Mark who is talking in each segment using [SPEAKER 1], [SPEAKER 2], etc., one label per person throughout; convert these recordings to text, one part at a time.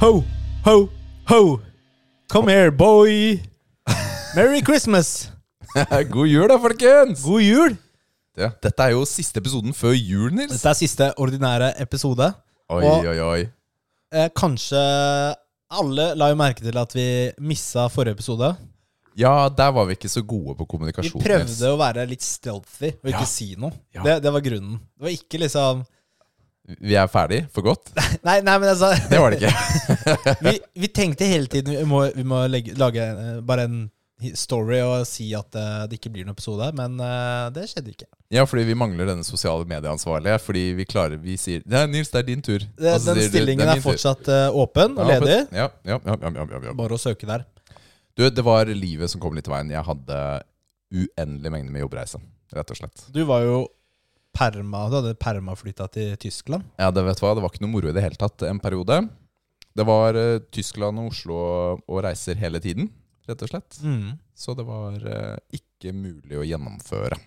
[SPEAKER 1] Ho, ho, ho. Come here, boy. Merry Christmas.
[SPEAKER 2] God jul, da, folkens!
[SPEAKER 1] God jul.
[SPEAKER 2] Ja, dette er jo siste episoden før jul, Nils.
[SPEAKER 1] Dette er siste ordinære episode.
[SPEAKER 2] Oi,
[SPEAKER 1] og-
[SPEAKER 2] oi, oi.
[SPEAKER 1] Eh, kanskje alle la jo merke til at vi missa forrige episode.
[SPEAKER 2] Ja, der var vi ikke så gode på
[SPEAKER 1] Vi
[SPEAKER 2] kommunikasjon. Nils.
[SPEAKER 1] prøvde å være litt stealthy og ikke
[SPEAKER 2] Ja.
[SPEAKER 1] si noe.
[SPEAKER 2] Ja.
[SPEAKER 1] Det, det var grunnen. Det var ikke liksom
[SPEAKER 2] Vi er ferdig for godt?
[SPEAKER 1] Nei, nei men altså
[SPEAKER 2] Det var det ikke.
[SPEAKER 1] vi, vi tenkte hele tiden Vi må, vi må legge, lage eh, bare en hi- story og si at eh, det ikke blir noen episode, men eh, det skjedde ikke.
[SPEAKER 2] Ja, fordi vi mangler denne sosiale medieansvarlige. Fordi vi klarer Vi sier Nei, Nils, det er din tur.
[SPEAKER 1] Altså, Det,
[SPEAKER 2] Og så
[SPEAKER 1] den
[SPEAKER 2] sier du,
[SPEAKER 1] stillingen
[SPEAKER 2] «Det
[SPEAKER 1] er
[SPEAKER 2] min tur».
[SPEAKER 1] fortsatt eh, åpen og
[SPEAKER 2] Ja,
[SPEAKER 1] ledig.
[SPEAKER 2] Ja, ja, ja, ja, ja, ja, ja.
[SPEAKER 1] Bare å søke der.
[SPEAKER 2] Du, det var livet som kom litt i veien. Jeg hadde uendelig mengde med jobbreise, rett og slett.
[SPEAKER 1] Du var jo perma, du hadde permaflytta til Tyskland.
[SPEAKER 2] Ja, det vet du hva, det var ikke noe moro i det hele tatt en periode. Det var eh, Tyskland og Oslo og- og reiser hele tiden, rett og slett. Så det var eh, ikke mulig å gjennomføre.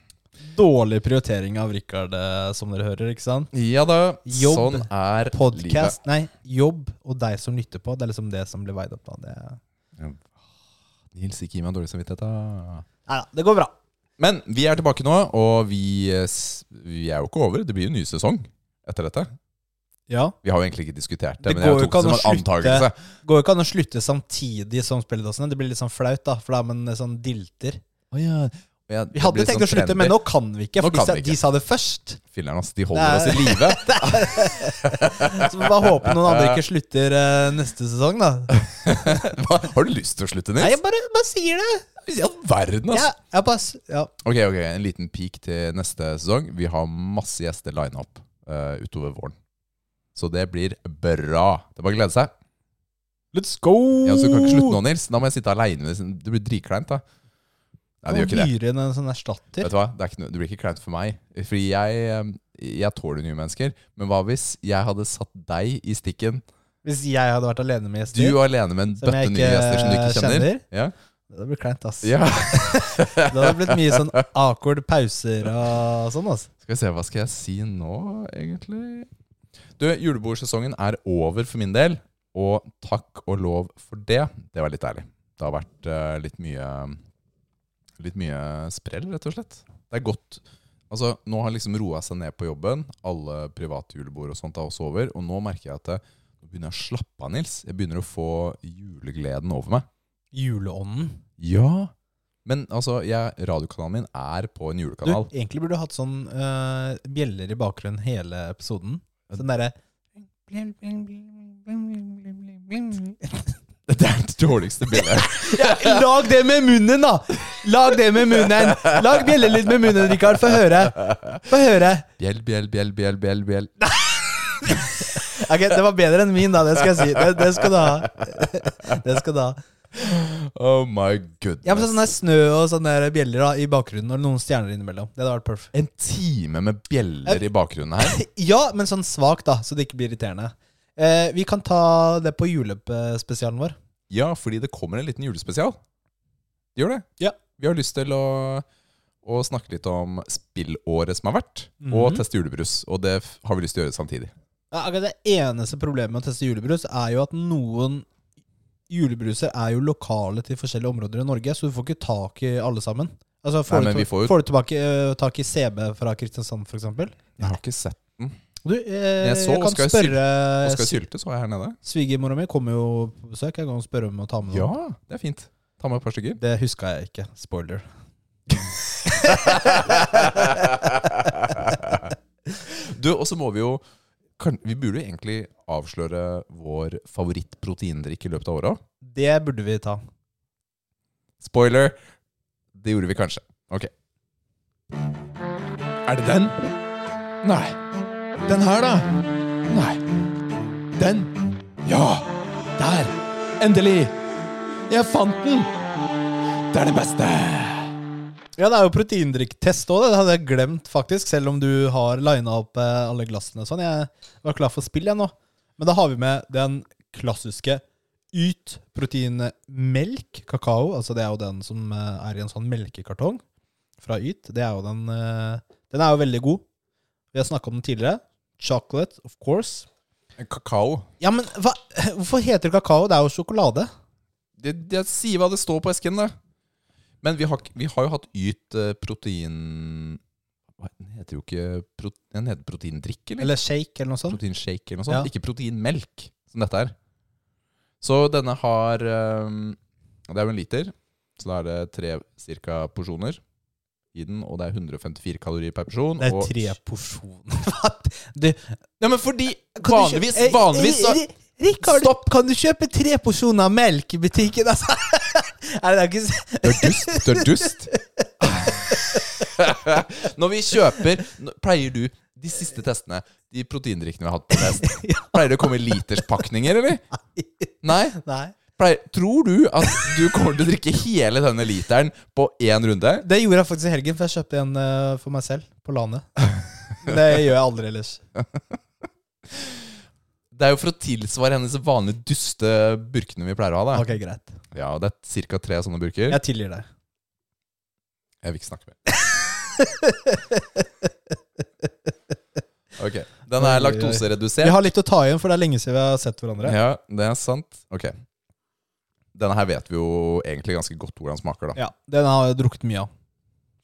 [SPEAKER 1] Dårlig prioritering av Rikard, eh, som dere hører, ikke sant?
[SPEAKER 2] Ja da,
[SPEAKER 1] Jobb,
[SPEAKER 2] sånn er livet.
[SPEAKER 1] Podcast, nei, jobb og deg som lytter på. Det er liksom det som blir veid opp. da. Det,
[SPEAKER 2] Nils, ikke gi meg dårlig samvittighet, da.
[SPEAKER 1] Neida, det går bra.
[SPEAKER 2] Men vi er tilbake nå, og vi, eh, s- vi er jo ikke over. Det blir jo en ny sesong etter dette.
[SPEAKER 1] Ja.
[SPEAKER 2] Vi har jo egentlig ikke diskutert det,
[SPEAKER 1] Det
[SPEAKER 2] men jeg
[SPEAKER 1] går jo
[SPEAKER 2] tok det
[SPEAKER 1] ikke
[SPEAKER 2] som
[SPEAKER 1] an
[SPEAKER 2] en
[SPEAKER 1] å slutte.
[SPEAKER 2] antakelse.
[SPEAKER 1] Går jo ikke an å slutte samtidig som spilledåsene. Det blir litt sånn flaut, da, for da er man eh, sånn dilter. Vi hadde
[SPEAKER 2] sånn
[SPEAKER 1] tenkt å slutte, men nå kan vi ikke, for
[SPEAKER 2] Nå
[SPEAKER 1] de
[SPEAKER 2] kan
[SPEAKER 1] sa,
[SPEAKER 2] vi ikke.
[SPEAKER 1] de sa det først.
[SPEAKER 2] Filler'n, ass. De holder
[SPEAKER 1] Nei.
[SPEAKER 2] oss i live.
[SPEAKER 1] Så vi bare håper noen andre ikke slutter eh, neste sesong, da.
[SPEAKER 2] Hva- Har du lyst til å slutte,
[SPEAKER 1] Nei,
[SPEAKER 2] Nils?
[SPEAKER 1] jeg bare, bare sier det.
[SPEAKER 2] I all verden, ass.
[SPEAKER 1] Ja, jeg bare, s- ja.
[SPEAKER 2] Ok, ok, en liten peak til neste sesong. Vi har masse gjester line up eh, utover våren. Så det blir bra. Det er bare å glede seg.
[SPEAKER 1] Let's go!
[SPEAKER 2] Ja, så du kan ikke slutte nå, Nils. Da må jeg sitte aleine. Det blir dritkleint, da. Nei, det gjør ikke det.
[SPEAKER 1] Hyre inn en sånn erstatter.
[SPEAKER 2] Vet du hva? Det, er ikke noe, det blir ikke kleint for meg. Fordi jeg, eh, jeg tåler nye mennesker. Men hva hvis jeg hadde satt deg i stikken?
[SPEAKER 1] Hvis jeg hadde vært alene med
[SPEAKER 2] Du
[SPEAKER 1] gjester.
[SPEAKER 2] alene med en
[SPEAKER 1] Som
[SPEAKER 2] bøtte
[SPEAKER 1] jeg
[SPEAKER 2] nye
[SPEAKER 1] ikke
[SPEAKER 2] gjester som du ikke kjenner.
[SPEAKER 1] kjenner.
[SPEAKER 2] Ja?
[SPEAKER 1] Det hadde blitt kleint, ass.
[SPEAKER 2] ja.
[SPEAKER 1] Det hadde blitt mye sånn awkward pauser og sånn, ass.
[SPEAKER 2] Skal vi se, hva skal jeg si nå, egentlig? Du, julebordsesongen er over for min del, og takk og lov for det. Det var litt ærlig. Det har vært eh, litt mye Litt mye sprell, rett og slett. Det er godt. Altså, Nå har liksom roa seg ned på jobben. Alle private julebord og sånt er også over. Og nå merker jeg at det, nå begynner jeg å slappe av, Nils. Jeg begynner å få julegleden over meg.
[SPEAKER 1] Juleånden.
[SPEAKER 2] Ja. Men altså, jeg, radiokanalen min er på en
[SPEAKER 1] Du,
[SPEAKER 2] julekanal.
[SPEAKER 1] egentlig burde du hatt sånn eh, bjeller i bakgrunnen hele episoden. Sånn derre
[SPEAKER 2] Det er det dårligste bildet.
[SPEAKER 1] Lag det med munnen, da! Lag det med munnen! Lag bjellelyd med munnen, Rikard. Få høre. Få høre.
[SPEAKER 2] Bjell, bjell, bjell, bjell, bjell, bjell.
[SPEAKER 1] Ok, Det var bedre enn min, da. Det skal jeg si. Det, det skal du ha. Det skal du ha.
[SPEAKER 2] Oh my goodness.
[SPEAKER 1] Ja, men sånn der snø og sånne der bjeller da, i bakgrunnen, og noen stjerner innimellom. Det hadde vært perfekt.
[SPEAKER 2] En time med bjeller i bakgrunnen her.
[SPEAKER 1] Ja, men sånn svakt, da, så det ikke blir irriterende. Eh, vi kan ta det på julespesialen vår.
[SPEAKER 2] Ja, fordi det kommer en liten julespesial. Det gjør det.
[SPEAKER 1] Ja.
[SPEAKER 2] Vi har lyst til å, å snakke litt om spillåret som har vært, og
[SPEAKER 1] Mhm.
[SPEAKER 2] teste julebrus. Og det f- har vi lyst til å gjøre samtidig.
[SPEAKER 1] Ja, akkurat det eneste problemet med å teste julebrus er jo at noen julebruser er jo lokale til forskjellige områder i Norge, så du får ikke tak i alle sammen. Altså, får,
[SPEAKER 2] Nei, men
[SPEAKER 1] du,
[SPEAKER 2] vi
[SPEAKER 1] ta-
[SPEAKER 2] får jo-
[SPEAKER 1] du tilbake, eh, tak i CB fra Kristiansand, for eksempel?
[SPEAKER 2] Jeg har ikke sett den.
[SPEAKER 1] Du, eh,
[SPEAKER 2] Jeg
[SPEAKER 1] jeg,
[SPEAKER 2] så
[SPEAKER 1] kan
[SPEAKER 2] Oskar Sylte.
[SPEAKER 1] spørre
[SPEAKER 2] Oskar Sylte så jeg her nede.
[SPEAKER 1] Svigermora mi kommer jo på besøk. Jeg kan spørre om å ta med noen.
[SPEAKER 2] Ja, det er fint. Ta med et par stykker.
[SPEAKER 1] Det huska jeg ikke. Spoiler.
[SPEAKER 2] Du, og så må vi jo kan, Vi burde jo egentlig avsløre vår favorittproteindrikk i løpet av året.
[SPEAKER 1] Det burde vi ta.
[SPEAKER 2] Spoiler. Det gjorde vi kanskje. Ok. Er det den? Nei. Den her, da? Nei. Den? Ja. Der. Endelig! Jeg fant den! Det er det beste!
[SPEAKER 1] Ja, det er jo proteindrikktest òg, det hadde jeg glemt faktisk. Selv om du har lina opp eh, alle glassene og sånn. Jeg var klar for spill, jeg nå. Men da har vi med den klassiske Yt proteinmelk, kakao. Altså det er jo den som eh, er i en sånn melkekartong fra Yt. Det er jo den eh, Den er jo veldig god. Vi har snakka om den tidligere. Chocolate, of course.
[SPEAKER 2] Kakao.
[SPEAKER 1] Ja, men hva, hvorfor heter det kakao? Det er jo sjokolade.
[SPEAKER 2] Det, det, si hva det står på esken, da. Men vi har, ikke- vi har jo hatt Yt eh, protein... Hva, den heter jo ikke pro, Den heter proteindrikk, eller?
[SPEAKER 1] Eller shake, eller noe sånt.
[SPEAKER 2] proteinshake eller noe sånt.
[SPEAKER 1] sånn? Ja.
[SPEAKER 2] Ikke proteinmelk, som dette er. Så denne har ehm, Det er jo en liter, så da er det tre cirka porsjoner i den, og det er 154 kalorier per porsjon.
[SPEAKER 1] Det er
[SPEAKER 2] og,
[SPEAKER 1] tre porsjoner. Hva? Du,
[SPEAKER 2] Ja, men fordi
[SPEAKER 1] Kan du
[SPEAKER 2] vanligvis,
[SPEAKER 1] kjøpe- Eh,
[SPEAKER 2] vanligvis så
[SPEAKER 1] eh, Rikard, Stopp! Kan du kjøpe tre porsjoner melk i butikken? Altså? Nei, det er ikke s-
[SPEAKER 2] Du er dust. Du er dust. Når vi kjøper nå- Pleier du de siste testene, de proteindrikkene vi har hatt på test, pleier det å komme i literspakninger, eller? Nei?
[SPEAKER 1] Nei.
[SPEAKER 2] Pleier, tror du at du kommer til å drikke hele denne literen på én runde?
[SPEAKER 1] Det gjorde jeg faktisk i helgen, for jeg kjøpte en eh, for meg selv på landet. Det gjør jeg aldri ellers.
[SPEAKER 2] Det er jo for å tilsvare hennes vanlige duste burkene vi pleier å ha. Da.
[SPEAKER 1] Ok, greit.
[SPEAKER 2] Ja, og Det er ca. tre sånne burker.
[SPEAKER 1] Jeg tilgir deg.
[SPEAKER 2] Jeg vil ikke snakke mer. Ok, Den
[SPEAKER 1] Oi, oi,
[SPEAKER 2] er
[SPEAKER 1] oi. Vi
[SPEAKER 2] laktoseredusert.
[SPEAKER 1] har litt å ta igjen, for det er lenge siden vi har sett hverandre.
[SPEAKER 2] Ja, det er sant. Ok. Denne her vet vi jo egentlig ganske godt hvordan smaker, da.
[SPEAKER 1] Ja, Den har jeg drukket mye av.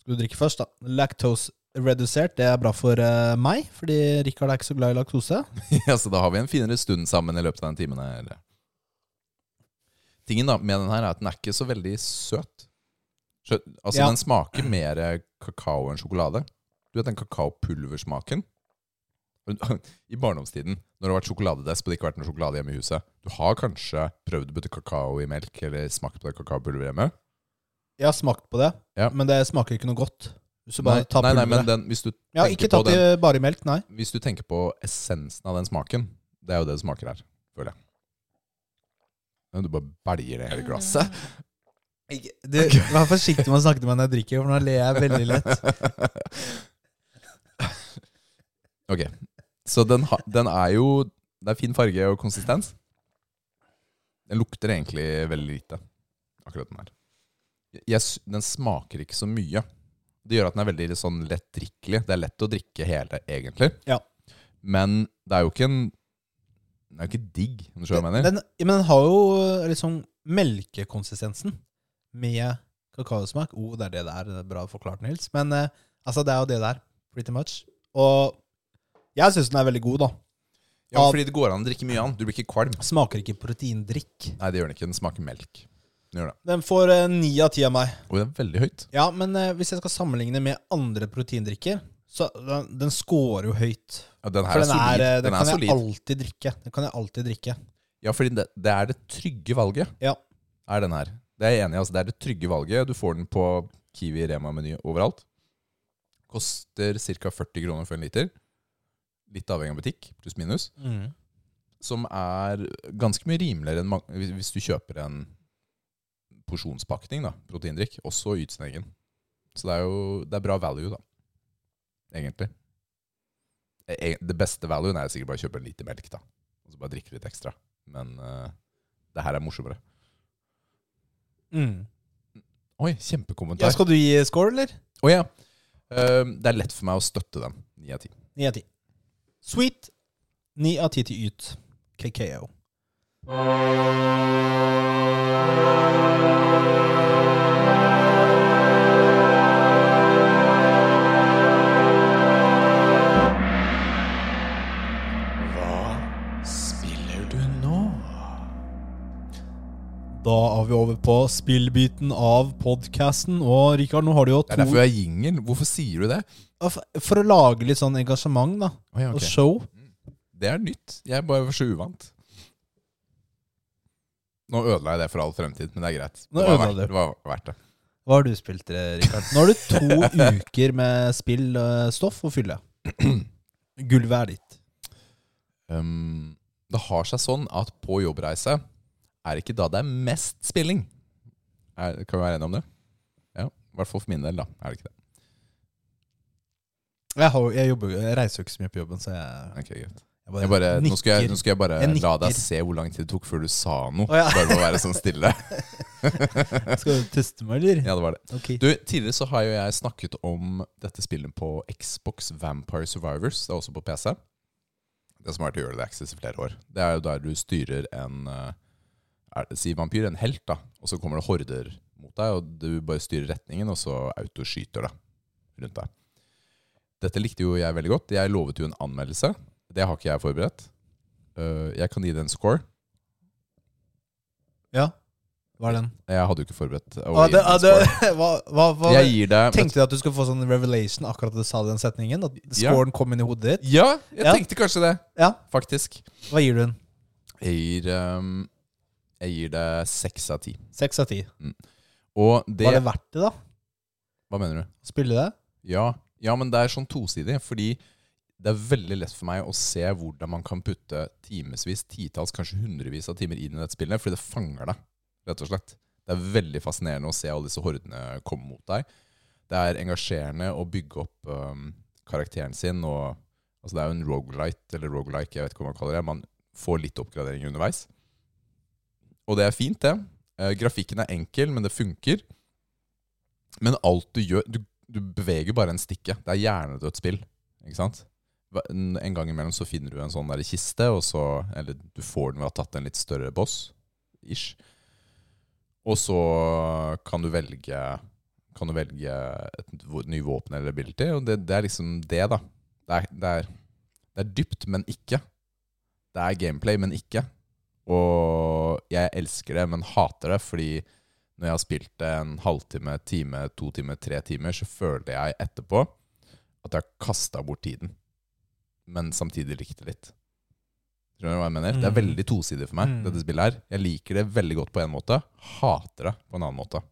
[SPEAKER 1] Skal du drikke først, da? Lactose redusert, det er bra for eh, meg, fordi Rikard er ikke så glad i laktose.
[SPEAKER 2] Ja, Så da har vi en finere stund sammen i løpet av den timen her. Tingen da med den her er at den er ikke så veldig søt. Skjø- Altså,
[SPEAKER 1] Ja.
[SPEAKER 2] den smaker mer kakao enn sjokolade. Du vet den kakaopulversmaken? I barndomstiden, når det har vært sjokoladedesk og det ikke har vært noe sjokolade hjemme i huset Du har kanskje prøvd å putte kakao i melk, eller smakt på det kakaopulveret hjemme?
[SPEAKER 1] Jeg har smakt på det,
[SPEAKER 2] Ja.
[SPEAKER 1] men det smaker ikke noe godt. Hvis du bare
[SPEAKER 2] Nei,
[SPEAKER 1] tar
[SPEAKER 2] nei, nei,
[SPEAKER 1] pulveret.
[SPEAKER 2] men den, hvis du
[SPEAKER 1] Ja,
[SPEAKER 2] tenker
[SPEAKER 1] ikke
[SPEAKER 2] på
[SPEAKER 1] tatt
[SPEAKER 2] den-
[SPEAKER 1] i bare i melk, nei.
[SPEAKER 2] Hvis du tenker på essensen av den smaken, det er jo det det smaker her, føler jeg. Men Du bare belger det hele glasset.
[SPEAKER 1] Du, Vær forsiktig med å snakke til meg når jeg drikker, for nå ler jeg veldig lett.
[SPEAKER 2] Ok, så den, ha, den er jo Det er fin farge og konsistens. Den lukter egentlig veldig lite, akkurat den her. Jeg, sy- den smaker ikke så mye. Det gjør at den er veldig sånn lett drikkelig. Det er lett å drikke hele, egentlig.
[SPEAKER 1] Ja.
[SPEAKER 2] Men det er jo ikke en Den er jo ikke digg, om du skjønner hva jeg mener.
[SPEAKER 1] Den, ja, men den har jo eh, liksom melkekonsistensen med kakaosmak. O, det er det der. Det er bra forklart, Nils. Men eh, altså, det er jo det der, pretty much. Og jeg syns den er veldig god, da.
[SPEAKER 2] Ja, fordi det går an å drikke mye annet. Du blir ikke kvalm.
[SPEAKER 1] Smaker ikke proteindrikk.
[SPEAKER 2] Nei, det gjør den ikke. Den smaker melk. Den gjør det.
[SPEAKER 1] Den får eh, ni av ti av meg.
[SPEAKER 2] Og det er veldig høyt.
[SPEAKER 1] Ja, men eh, hvis jeg skal sammenligne med andre proteindrikker, så den, den scorer jo høyt.
[SPEAKER 2] Ja, den her
[SPEAKER 1] For
[SPEAKER 2] er
[SPEAKER 1] den, er,
[SPEAKER 2] solid.
[SPEAKER 1] eh,
[SPEAKER 2] den
[SPEAKER 1] den,
[SPEAKER 2] er
[SPEAKER 1] kan jeg
[SPEAKER 2] solid.
[SPEAKER 1] alltid drikke. Den kan jeg alltid drikke.
[SPEAKER 2] Ja, fordi det, det er det trygge valget.
[SPEAKER 1] Ja.
[SPEAKER 2] Er den her. Det er jeg enig i. Altså. Det er det trygge valget. Du får den på Kiwi, Rema, Meny overalt. Koster ca. 40 kroner for en liter. Litt avhengig av butikk, pluss minus. Som er ganske mye rimeligere enn mang- hvis- hvis du kjøper en porsjonspakning, da, proteindrikk. Også yt sin egen. Så det er jo det er bra value, da. Egentlig. E- e- Det beste valuen er sikkert bare å kjøpe en liter melk, da. Og så bare drikke litt ekstra. Men eh, det her er morsommere. Mm. Oi,
[SPEAKER 1] Ja,
[SPEAKER 2] kjempekommentar.
[SPEAKER 1] skal du gi score, eller?
[SPEAKER 2] Å ja. Ehm, det er lett for meg å støtte den. 9 av 10.
[SPEAKER 1] Ni av ti. Sweet. Ni av ti til Yt. KKO.
[SPEAKER 2] Hva spiller du nå?
[SPEAKER 1] Da er vi over på spillbiten av podkasten. Og Rikard, nå har du jo
[SPEAKER 2] Det
[SPEAKER 1] to
[SPEAKER 2] er derfor jeg har jingle. Hvorfor sier du det?
[SPEAKER 1] For å lage litt sånn engasjement, da.
[SPEAKER 2] Å ja,
[SPEAKER 1] Og
[SPEAKER 2] ok.
[SPEAKER 1] show.
[SPEAKER 2] Det er nytt. Jeg bare var så uvant. Nå ødela jeg det for all fremtid, men det er greit.
[SPEAKER 1] Nå
[SPEAKER 2] det, var
[SPEAKER 1] ødela
[SPEAKER 2] verdt,
[SPEAKER 1] du.
[SPEAKER 2] det var verdt det.
[SPEAKER 1] Hva har du spilt, eh, Rikard? Nå har du to uker med spill, eh, stoff å fylle. Gulvet er ditt.
[SPEAKER 2] Um, Ehm, det har seg sånn at på jobbreise er ikke da det er mest spilling. Er, kan vi være enige om det? Ja, I hvert fall for min del, da. Er det ikke det?
[SPEAKER 1] Jeg, har, jo- jeg, jobber, jo- jeg reiser jo ikke så mye på jobben, så jeg,
[SPEAKER 2] Ok, greit.
[SPEAKER 1] jeg bare,
[SPEAKER 2] Jeg bare, nå,
[SPEAKER 1] nikker.
[SPEAKER 2] skal jeg, nå skal jeg bare
[SPEAKER 1] Jeg
[SPEAKER 2] la
[SPEAKER 1] nikker.
[SPEAKER 2] deg se hvor lang tid det tok før du sa noe.
[SPEAKER 1] Å, ja.
[SPEAKER 2] Bare for å være sånn stille.
[SPEAKER 1] Skal du teste meg, eller?
[SPEAKER 2] Ja, det var det.
[SPEAKER 1] Ok.
[SPEAKER 2] Du, Tidligere så har jo jeg snakket om dette spillet på Xbox Vampire Survivors. Det er også på PC. Det som har vært i Early Access i flere år. Det er jo der du styrer en eh, er, Si vampyr, en helt, da. Og så kommer det horder mot deg, og du bare styrer retningen, og så autoskyter det rundt deg. Dette likte jo jeg veldig godt. Jeg lovet jo en anmeldelse. Det har ikke jeg forberedt. Eh, jeg kan gi det en score.
[SPEAKER 1] Ja. Hva er den?
[SPEAKER 2] Jeg hadde jo ikke forberedt å
[SPEAKER 1] Ah,
[SPEAKER 2] gi
[SPEAKER 1] det,
[SPEAKER 2] den
[SPEAKER 1] ah,
[SPEAKER 2] en
[SPEAKER 1] det,
[SPEAKER 2] score.
[SPEAKER 1] hva, hva, hva,
[SPEAKER 2] Jeg gir det
[SPEAKER 1] Tenkte du at du skulle få sånn revelation akkurat da du sa den setningen? At
[SPEAKER 2] Ja.
[SPEAKER 1] scoren kom inn i hodet ditt?
[SPEAKER 2] Ja, jeg
[SPEAKER 1] Ja.
[SPEAKER 2] tenkte kanskje det,
[SPEAKER 1] Ja.
[SPEAKER 2] faktisk.
[SPEAKER 1] Hva gir du den?
[SPEAKER 2] Jeg gir, ehm, jeg gir det seks av ti.
[SPEAKER 1] Seks av ti.
[SPEAKER 2] Og det,
[SPEAKER 1] Var det verdt det, da?
[SPEAKER 2] Hva mener du?
[SPEAKER 1] Å spille det?
[SPEAKER 2] Ja, ja, men det er sånn tosidig, fordi det er veldig lett for meg å se hvordan man kan putte timevis, titalls, kanskje hundrevis av timer inn i dette spillet, fordi det fanger deg, rett og slett. Det er veldig fascinerende å se alle disse hordene komme mot deg. Det er engasjerende å bygge opp øhm, karakteren sin, og altså det er jo en roguelite, eller roguelike, jeg vet ikke hva man kaller det. Man får litt oppgradering underveis. Og det er fint, det. Eh, grafikken er enkel, men det funker. Men alt du gjør Du du beveger bare en stikke. Det er hjernedødt spill. Ikke sant? Hva- En en gang imellom så finner du en sånn der kiste, og så, eller du får den ved å ha tatt en litt større boss. Ish. Og så kan du velge Kan du velge et v- ny våpen eller ability, og det, det er liksom det, da. Det er, det, er, det er dypt, men ikke. Det er gameplay, men ikke. Og jeg elsker det, men hater det, fordi når jeg har spilt det en halvtime, time, to timer, tre timer, så føler jeg etterpå at jeg har kasta bort tiden. Men samtidig likte det litt. Skjønner du hva jeg mener? Det er
[SPEAKER 1] Mm.
[SPEAKER 2] veldig tosidig for meg,
[SPEAKER 1] Mm.
[SPEAKER 2] dette spillet her. Jeg liker det veldig godt på en måte, hater det på en annen måte.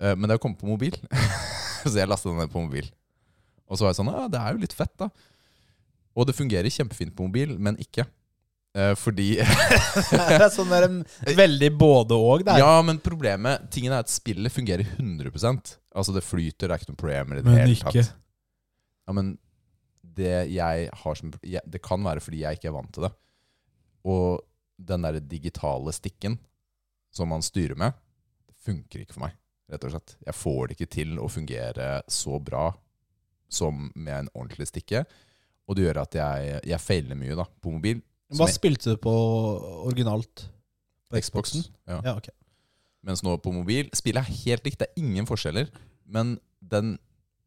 [SPEAKER 2] Eh, Men det har kommet på mobil, så jeg lasta den ned på mobil. Og så var jeg sånn Ja, det er jo litt fett, da. Og det fungerer kjempefint på mobil, men ikke. Eh, fordi
[SPEAKER 1] det er sånn der, um, veldig både og der.
[SPEAKER 2] Eh, Ja, men problemet Tingen er at spillet fungerer 100 Altså det flyter, det er ikke noe problem i det
[SPEAKER 1] Men
[SPEAKER 2] hele
[SPEAKER 1] ikke.
[SPEAKER 2] tatt. Ja, men det jeg har som jeg, Det kan være fordi jeg ikke er vant til det. Og den der digitale stikken som man styrer med, det funker ikke for meg, rett og slett. Jeg får det ikke til å fungere så bra som med en ordentlig stikke. Og det gjør at jeg, jeg feiler mye da, på mobil.
[SPEAKER 1] Hva
[SPEAKER 2] som jeg-
[SPEAKER 1] spilte du på originalt? På Xboxen?
[SPEAKER 2] Ja.
[SPEAKER 1] Ja, ok.
[SPEAKER 2] Mens nå på mobil Spillet er helt likt, det er ingen forskjeller Men den,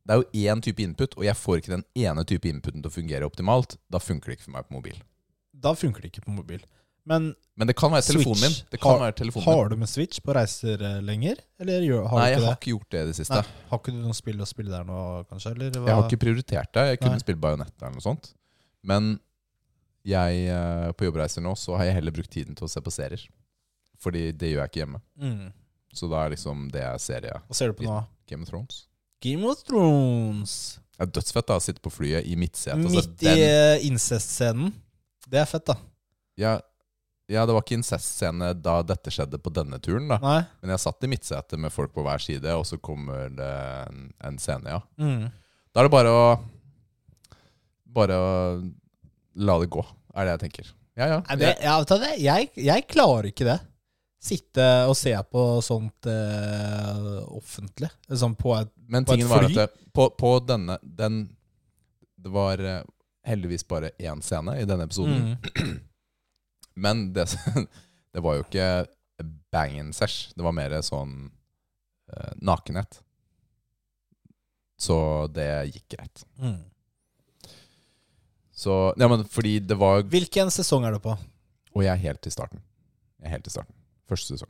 [SPEAKER 2] det er jo én type input Og jeg får ikke den ene type inputen til å fungere optimalt Da funker det ikke for meg på mobil
[SPEAKER 1] Da funker det ikke på mobil. Men
[SPEAKER 2] Men det kan være telefonen min
[SPEAKER 1] Switch.
[SPEAKER 2] Det kan
[SPEAKER 1] Har-
[SPEAKER 2] være telefonen min
[SPEAKER 1] har du med Switch på reiser eh, lenger? Eller gjør, har
[SPEAKER 2] Nei,
[SPEAKER 1] du
[SPEAKER 2] jeg
[SPEAKER 1] ikke
[SPEAKER 2] har
[SPEAKER 1] det?
[SPEAKER 2] ikke gjort det i det siste
[SPEAKER 1] Nei. Har ikke du noen spill å spille der nå, kanskje? Eller hva?
[SPEAKER 2] Jeg har ikke prioritert det Jeg kunne
[SPEAKER 1] Nei.
[SPEAKER 2] spille Bayonetta eller noe sånt Men jeg eh, på jobbreiser nå Så har jeg heller brukt tiden til å se på serier Fordi det gjør jeg ikke hjemme
[SPEAKER 1] Mm.
[SPEAKER 2] Så da er liksom det jeg ser jeg
[SPEAKER 1] Hva ser du på nå?
[SPEAKER 2] Game of Thrones
[SPEAKER 1] Game of Thrones.
[SPEAKER 2] Det er dødsfett da å sitte på flyet i midtset
[SPEAKER 1] Midt i eh, incest-scenen. Det er fett, da.
[SPEAKER 2] Ja, ja det var ikke incest-scene da dette skjedde på denne turen, da.
[SPEAKER 1] Nei?
[SPEAKER 2] Men jeg satt i midtsetet med folk på hver side, og så kommer det en, en scene, ja.
[SPEAKER 1] Mm.
[SPEAKER 2] Da er det bare å Bare å la det gå, er det jeg tenker. Ja, ja.
[SPEAKER 1] Nei, det, ja, vet du hva, det- jeg, jeg klarer ikke det. Sitte og se på sånt eh, offentlig. Sånn på et
[SPEAKER 2] Men
[SPEAKER 1] på et
[SPEAKER 2] tingen var at
[SPEAKER 1] fly?
[SPEAKER 2] det, på, på denne den, Det var eh, heldigvis bare én scene i denne episoden.
[SPEAKER 1] mm.
[SPEAKER 2] Men det, det var jo ikke banging sesh. Det var mer sånn eh, nakenhet. Så det gikk greit.
[SPEAKER 1] Mm.
[SPEAKER 2] Så, ja, men fordi det var
[SPEAKER 1] Hvilken sesong er du på?
[SPEAKER 2] Og jeg er helt i starten. Jeg er helt i starten. Første sesong.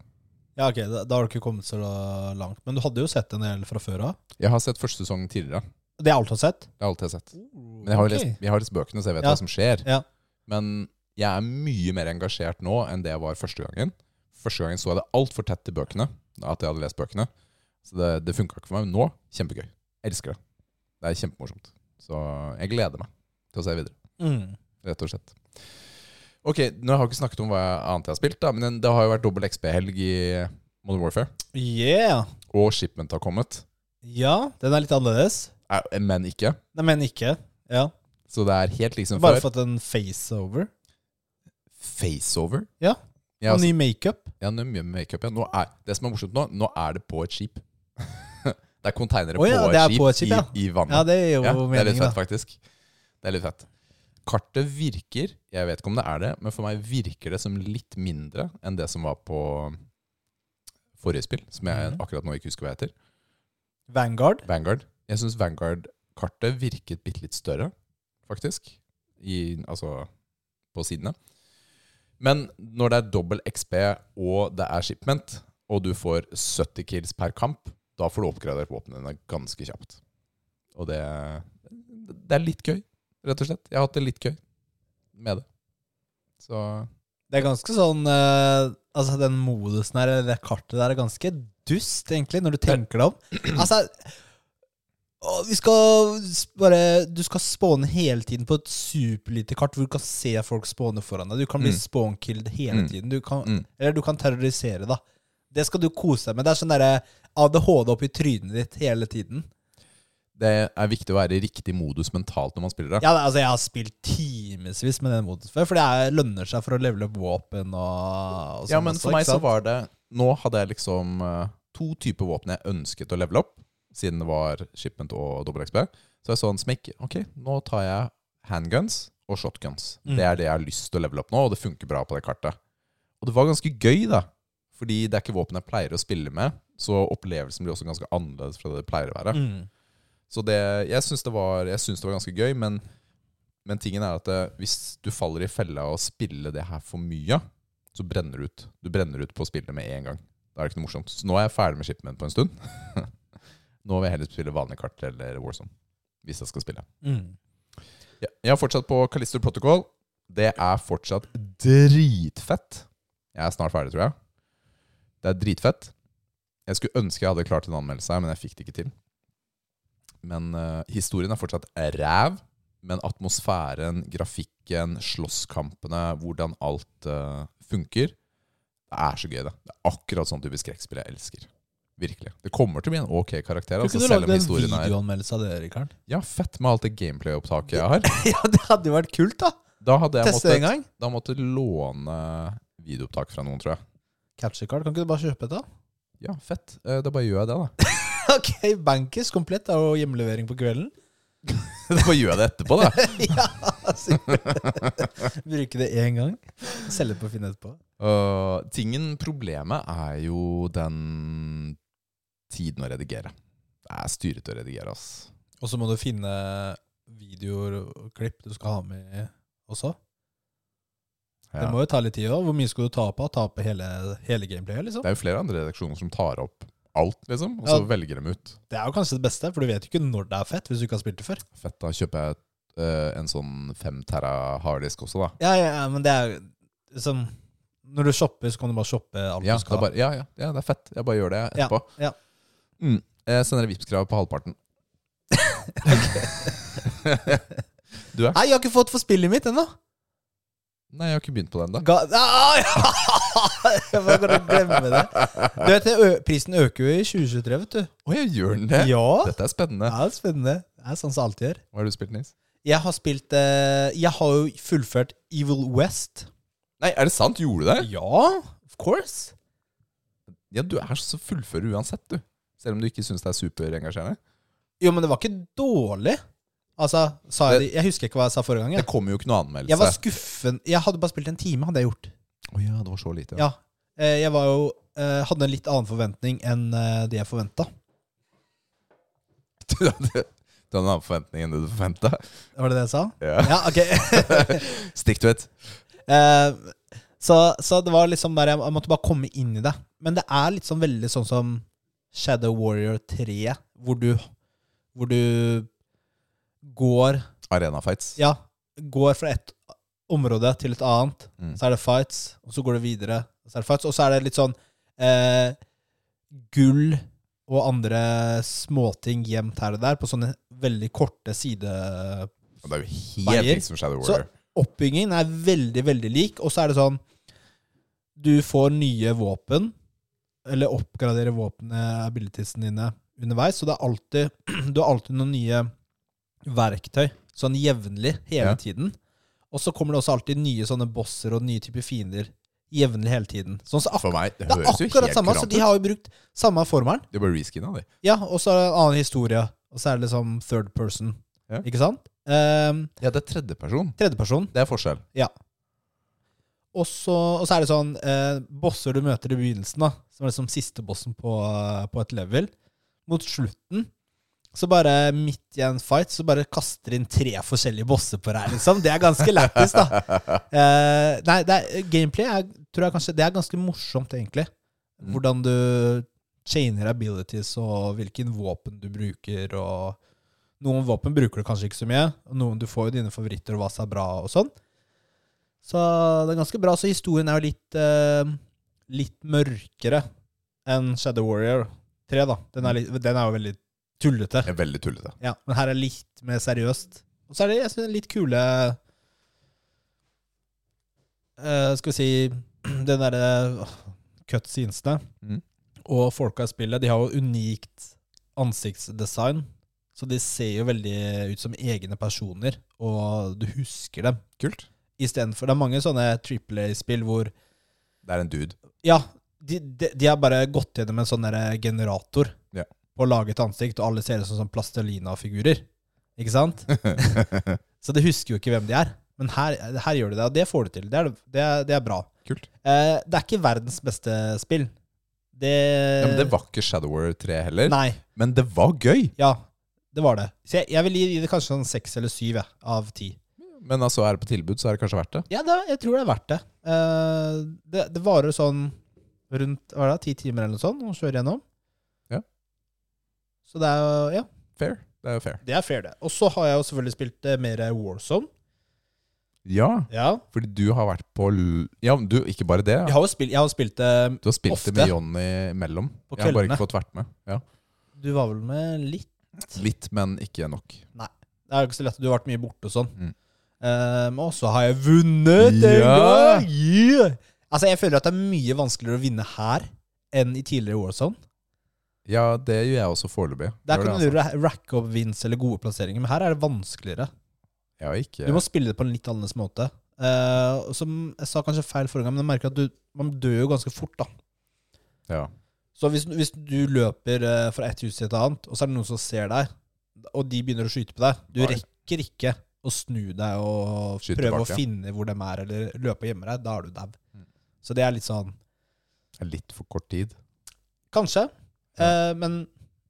[SPEAKER 1] Ja, ok, Da, da har du ikke kommet så la- langt. Men du hadde jo sett en del fra før av.
[SPEAKER 2] Jeg har sett første sesong tidligere.
[SPEAKER 1] Det er alt du har sett?
[SPEAKER 2] Det er alt jeg har sett. Men jeg har, jo
[SPEAKER 1] Ok.
[SPEAKER 2] lest, jeg har lest bøkene, så jeg vet
[SPEAKER 1] Ja.
[SPEAKER 2] hva som skjer.
[SPEAKER 1] Ja.
[SPEAKER 2] Men jeg er mye mer engasjert nå enn det jeg var første gangen. Første gangen så jeg det altfor tett til bøkene. At jeg hadde lest bøkene. Så det, det funka ikke for meg. Men nå kjempegøy. Elsker det. Det er kjempemorsomt. Så jeg gleder meg til å se videre.
[SPEAKER 1] Mm.
[SPEAKER 2] Rett og slett. Ok, nå har jeg ikke snakket om hva jeg- annet jeg har spilt, da, men den- det har jo vært dobbel XP-helg i Modern Warfare.
[SPEAKER 1] Yeah.
[SPEAKER 2] Og Shipment har kommet.
[SPEAKER 1] Ja, den er litt annerledes.
[SPEAKER 2] Eh, Men ikke.
[SPEAKER 1] Nei, men ikke. Ja.
[SPEAKER 2] Så det er helt liksom
[SPEAKER 1] Bare
[SPEAKER 2] før.
[SPEAKER 1] fått en faceover.
[SPEAKER 2] Faceover.
[SPEAKER 1] Ja.
[SPEAKER 2] Ja,
[SPEAKER 1] Og
[SPEAKER 2] altså,
[SPEAKER 1] ny makeup.
[SPEAKER 2] ja, det er mye med makeup. Ja. Nå er, det som er morsomt nå, nå er det på et skip. det er konteinere
[SPEAKER 1] Å ja,
[SPEAKER 2] på,
[SPEAKER 1] det er
[SPEAKER 2] et skip
[SPEAKER 1] på et skip,
[SPEAKER 2] i,
[SPEAKER 1] ja.
[SPEAKER 2] i vannet.
[SPEAKER 1] Ja, det er jo
[SPEAKER 2] Ja, det er litt
[SPEAKER 1] meningen,
[SPEAKER 2] fett,
[SPEAKER 1] da.
[SPEAKER 2] faktisk. Det er litt fett. Kartet virker, jeg vet ikke om det er det, men for meg virker det som litt mindre enn det som var på forrige spill, som jeg
[SPEAKER 1] Mhm.
[SPEAKER 2] akkurat nå ikke husker hva heter.
[SPEAKER 1] Vanguard.
[SPEAKER 2] Vanguard. Jeg syns Vanguard-kartet virket bitte litt større, faktisk. I, altså på sidene. Men når det er dobbel XP og det er shipment, og du får 70 kills per kamp, da får du oppgradert våpnene ganske kjapt. Og det, det er litt gøy, rett og slett. Jeg har hatt det litt gøy med det. Så
[SPEAKER 1] Det er ganske sånn eh, Altså, den modusen her, eller det kartet der, er ganske dust, egentlig, når du tenker deg om. Altså å, vi skal s- bare Du skal spåne hele tiden på et superlite kart hvor du kan se folk spåne foran deg. Du kan bli
[SPEAKER 2] Mm.
[SPEAKER 1] spånkilled hele
[SPEAKER 2] Mm.
[SPEAKER 1] tiden. Du kan,
[SPEAKER 2] Mm.
[SPEAKER 1] Eller du kan terrorisere, da. Det skal du kose deg med. Det er sånn derre ADHD opp i trynet ditt hele tiden.
[SPEAKER 2] det er viktig å være i riktig modus mentalt når man spiller det.
[SPEAKER 1] Ja, altså Jeg har spilt timevis med den modusen før, for det er, lønner seg for å levele opp våpen og, og
[SPEAKER 2] Ja,
[SPEAKER 1] sånn
[SPEAKER 2] men
[SPEAKER 1] også,
[SPEAKER 2] for
[SPEAKER 1] ikke
[SPEAKER 2] meg så
[SPEAKER 1] sant?
[SPEAKER 2] var det Nå hadde jeg liksom eh, to typer våpen jeg ønsket å levele opp, siden det var shipment og dobbel XP. Så jeg så en smekk. Ok, nå tar jeg handguns og shotguns.
[SPEAKER 1] Mm.
[SPEAKER 2] Det er det jeg har lyst til å levele opp nå, og det funker bra på det kartet. Og det var ganske gøy, da. Fordi det er ikke våpen jeg pleier å spille med, så opplevelsen blir også ganske annerledes fra det det pleier å være.
[SPEAKER 1] mm.
[SPEAKER 2] Så det, jeg syns det, var- jeg syns det var ganske gøy, men, men tingen er at eh, hvis du faller i fella og spiller det her for mye, så brenner du ut. Du brenner ut på spillet med en gang. Da er det ikke noe morsomt. Så nå er jeg ferdig med Shipment på en stund. nå vil jeg heller spille vanlig kart eller Warzone, hvis jeg skal spille.
[SPEAKER 1] Mm.
[SPEAKER 2] Ja, jeg har fortsatt på Callisto Protocol. Det er fortsatt dritfett. Jeg er snart ferdig, tror jeg. Det er dritfett. Jeg skulle ønske jeg hadde klart en anmeldelse her, men jeg fikk det ikke til. Men eh, historien er fortsatt ræv. Men atmosfæren, grafikken, slåsskampene, hvordan alt eh, funker Det er så gøy, det. Det er akkurat sånn type skrekkspill jeg elsker. Virkelig. Det kommer til å bli en ok karakter.
[SPEAKER 1] Kunne
[SPEAKER 2] Altså,
[SPEAKER 1] ikke du
[SPEAKER 2] selv
[SPEAKER 1] lagd
[SPEAKER 2] om
[SPEAKER 1] en
[SPEAKER 2] historien er
[SPEAKER 1] videoanmeldelse av det, Rikard?
[SPEAKER 2] Ja, fett med alt det gameplay-opptaket jeg har.
[SPEAKER 1] ja, det hadde jo vært kult, da.
[SPEAKER 2] Da hadde jeg
[SPEAKER 1] Teste det
[SPEAKER 2] måttet
[SPEAKER 1] en gang.
[SPEAKER 2] da måtte jeg låne videoopptak fra noen, tror jeg.
[SPEAKER 1] Capture-card. Kan ikke du bare kjøpe et, da?
[SPEAKER 2] Ja, fett. Eh, Da bare gjør jeg det, da.
[SPEAKER 1] ok, Bankers komplett er jo hjemlevering på kvelden.
[SPEAKER 2] Da bare gjør jeg det etterpå, da.
[SPEAKER 1] ja, altså. Bruke det én gang. Selge på Finn etterpå.
[SPEAKER 2] Øh, tingen, problemet, er jo den tiden å redigere. Det er styret å redigere, ass.
[SPEAKER 1] Og så må du finne videoer og klipp du skal ha med også.
[SPEAKER 2] Ja.
[SPEAKER 1] Det må jo ta litt tid òg. Hvor mye skal du ta på? Ta på hele, hele gameplayet, liksom?
[SPEAKER 2] Det er jo flere andre redaksjoner som tar opp alt, liksom, og så
[SPEAKER 1] Ja.
[SPEAKER 2] velger dem ut.
[SPEAKER 1] Det er jo kanskje det beste, for du vet jo ikke når det er fett, hvis du ikke har spilt det før.
[SPEAKER 2] Fett, da kjøper jeg øh, en sånn 5 terra harddisk også, da.
[SPEAKER 1] Ja, ja, ja, men det er liksom Når du shopper, så kan du bare shoppe alt
[SPEAKER 2] Ja,
[SPEAKER 1] du skal.
[SPEAKER 2] da bare, ja, ja, ja, det er fett. Jeg bare gjør det etterpå.
[SPEAKER 1] ja.
[SPEAKER 2] Mm. Jeg sender et Vipps-krav på halvparten.
[SPEAKER 1] Nei, jeg har ikke fått for spillet mitt ennå!
[SPEAKER 2] Nei, jeg har ikke begynt på den ennå.
[SPEAKER 1] Ga ah, ja! Jeg bare kan glemme det. Du vet, det ø- Prisen øker jo i 2023, vet du.
[SPEAKER 2] Å, jeg gjør den det?
[SPEAKER 1] Ja, det
[SPEAKER 2] Dette er spennende.
[SPEAKER 1] er spennende. Det er sånn som alltid gjør.
[SPEAKER 2] Hva har du spilt, Nils?
[SPEAKER 1] Jeg har spilt eh, Jeg har jo fullført Evil West.
[SPEAKER 2] Nei, er det sant? Gjorde du det?
[SPEAKER 1] Ja, of course.
[SPEAKER 2] Ja, du er så fullfører uansett, du. Selv om du ikke syns det er superengasjerende.
[SPEAKER 1] Jo, men det var ikke dårlig. Altså, sa jeg det Jeg husker ikke hva jeg sa forrige gang.
[SPEAKER 2] Det
[SPEAKER 1] Jeg,
[SPEAKER 2] kommer jo ikke noe anmeldelse.
[SPEAKER 1] jeg var skuffen. Jeg hadde bare spilt en time, hadde jeg gjort.
[SPEAKER 2] Å ja, det var så lite.
[SPEAKER 1] Ja. Eh, Jeg var jo eh, hadde en litt annen forventning enn eh, det jeg forventa.
[SPEAKER 2] du hadde du hadde en annen forventning enn det du forventa.
[SPEAKER 1] Var det det jeg sa?
[SPEAKER 2] Ja.
[SPEAKER 1] Ja, ok.
[SPEAKER 2] Stick to it.
[SPEAKER 1] Eh, så, så det var liksom der jeg, jeg måtte bare komme inn i det. Men det er litt sånn veldig sånn som Shadow Warrior 3, hvor du, hvor du går
[SPEAKER 2] Arena fights.
[SPEAKER 1] Ja, går fra et område til et annet.
[SPEAKER 2] Mm.
[SPEAKER 1] Så er det fights, og så går det videre. og Så er det fights, og så er det litt sånn eh, gull og andre småting gjemt her og der, på sånne veldig korte side...
[SPEAKER 2] Det er jo helt
[SPEAKER 1] Veier.
[SPEAKER 2] liksom Shadow
[SPEAKER 1] Så,
[SPEAKER 2] Warrior.
[SPEAKER 1] oppbyggingen er veldig, veldig lik, og så er det sånn Du får nye våpen, eller oppgraderer våpenet, abilitiesene dine, underveis, så det er alltid Du har alltid noen nye verktøy, sånn jevnlig, hele
[SPEAKER 2] Ja.
[SPEAKER 1] tiden. Og så kommer det også alltid nye sånne bosser og nye typer fiender jevnlig hele tiden. Sånn så ak
[SPEAKER 2] For meg, det,
[SPEAKER 1] det er
[SPEAKER 2] høres jo
[SPEAKER 1] akkurat
[SPEAKER 2] helt
[SPEAKER 1] samme, så
[SPEAKER 2] kurant
[SPEAKER 1] de har jo brukt samme formelen.
[SPEAKER 2] ut. Det er bare reskinna, det.
[SPEAKER 1] Ja, og så er det en annen historie. Og så er det liksom third person.
[SPEAKER 2] Ja.
[SPEAKER 1] Ikke sant? Um,
[SPEAKER 2] Ja, det er tredjeperson.
[SPEAKER 1] Tredjeperson.
[SPEAKER 2] Det er forskjell.
[SPEAKER 1] Og så og så er det sånn eh, bosser du møter i begynnelsen, da som er liksom siste bossen på, eh, på et level. Mot slutten, så bare midt i en fight, så bare kaster inn tre forskjellige bosser på deg, liksom. Det er ganske lættis, da. Eh, nei, det er, gameplay er, tror jeg kanskje Det er ganske morsomt, egentlig.
[SPEAKER 2] Mm.
[SPEAKER 1] Hvordan du chainer abilities, og hvilken våpen du bruker, og Noen våpen bruker du kanskje ikke så mye, og noen du får jo dine favoritter, og hva som er bra, og sånn. Så det er ganske bra. Så historien er jo litt eh, Litt mørkere enn Shadow Warrior 3, da. Den er, litt, den er jo veldig tullete.
[SPEAKER 2] Det er veldig tullete.
[SPEAKER 1] Ja, men her er litt mer seriøst. Og så er det jeg synes, litt kule eh, Skal vi si Den derre cutscenesene.
[SPEAKER 2] Mm.
[SPEAKER 1] Og folka i spillet, de har jo unikt ansiktsdesign. Så de ser jo veldig ut som egne personer, og du husker dem.
[SPEAKER 2] Kult.
[SPEAKER 1] Istedenfor Det er mange sånne Triple A-spill hvor
[SPEAKER 2] Det er en dude.
[SPEAKER 1] ja, de, de, de har bare gått gjennom en sånn derre generator
[SPEAKER 2] Ja.
[SPEAKER 1] og laget ansikt, og alle ser ut som sånn plastelina-figurer. Ikke sant? Så de husker jo ikke hvem de er. Men her, her gjør de det, og det får du til. Det er, det er, det er bra.
[SPEAKER 2] Kult.
[SPEAKER 1] Eh, det er ikke verdens beste spill. Det
[SPEAKER 2] Ja, men det var ikke Shadow Warrior 3 heller.
[SPEAKER 1] Eh. Nei.
[SPEAKER 2] Men det var gøy.
[SPEAKER 1] Ja, det var det. Så jeg, jeg vil gi det kanskje sånn seks eller syv jeg, av ti.
[SPEAKER 2] Men altså, er det på tilbud, så er det kanskje verdt det.
[SPEAKER 1] Ja, det, jeg tror det er verdt det. Eh, det, det varer sånn rundt hva er det, ti timer eller noe sånt, og kjører gjennom.
[SPEAKER 2] Ja.
[SPEAKER 1] Så det er jo Ja,
[SPEAKER 2] Fair. Det er jo fair.
[SPEAKER 1] det er fair, det. Og så har jeg jo selvfølgelig spilt eh, mer Warzone.
[SPEAKER 2] Ja,
[SPEAKER 1] Ja.
[SPEAKER 2] fordi du har vært på l- Ja, men du, ikke bare det.
[SPEAKER 1] Jeg har jo spilt, jeg har spilt eh,
[SPEAKER 2] Du har spilt
[SPEAKER 1] Ofte.
[SPEAKER 2] det med Johnny imellom.
[SPEAKER 1] På
[SPEAKER 2] Jeg har bare
[SPEAKER 1] kveldene.
[SPEAKER 2] ikke fått vært med. Ja.
[SPEAKER 1] Du var vel med litt?
[SPEAKER 2] Litt, men ikke nok.
[SPEAKER 1] Det er jo ikke så lett, du har vært mye borte og sånn.
[SPEAKER 2] Mm.
[SPEAKER 1] Eh, Men også har jeg vunnet en
[SPEAKER 2] Ja.
[SPEAKER 1] gang! Yeah! Altså, jeg føler at det er mye vanskeligere å vinne her enn i tidligere Warzone.
[SPEAKER 2] Ja, det gjør jeg også foreløpig.
[SPEAKER 1] Der
[SPEAKER 2] Gjør
[SPEAKER 1] kan du
[SPEAKER 2] det,
[SPEAKER 1] ra- racke opp vins eller gode plasseringer, men her er det vanskeligere.
[SPEAKER 2] altså. Jeg har ikke
[SPEAKER 1] Du må spille det på en litt annerledes måte. Eh, og som jeg sa kanskje feil forrige gang, men jeg merker at du, man dør jo ganske fort. da.
[SPEAKER 2] ja.
[SPEAKER 1] Så hvis, hvis du løper eh, fra et hus til et annet, og så er det noen som ser deg, og de begynner å skyte på deg Du
[SPEAKER 2] Nei.
[SPEAKER 1] rekker ikke å snu deg og
[SPEAKER 2] Skyte
[SPEAKER 1] prøve
[SPEAKER 2] tilbake.
[SPEAKER 1] å finne hvor de er, eller løpe og gjemme deg. Da er du dau.
[SPEAKER 2] Mm.
[SPEAKER 1] Så det er litt sånn
[SPEAKER 2] Det er Litt for kort tid.
[SPEAKER 1] Kanskje.
[SPEAKER 2] Ja.
[SPEAKER 1] eh, men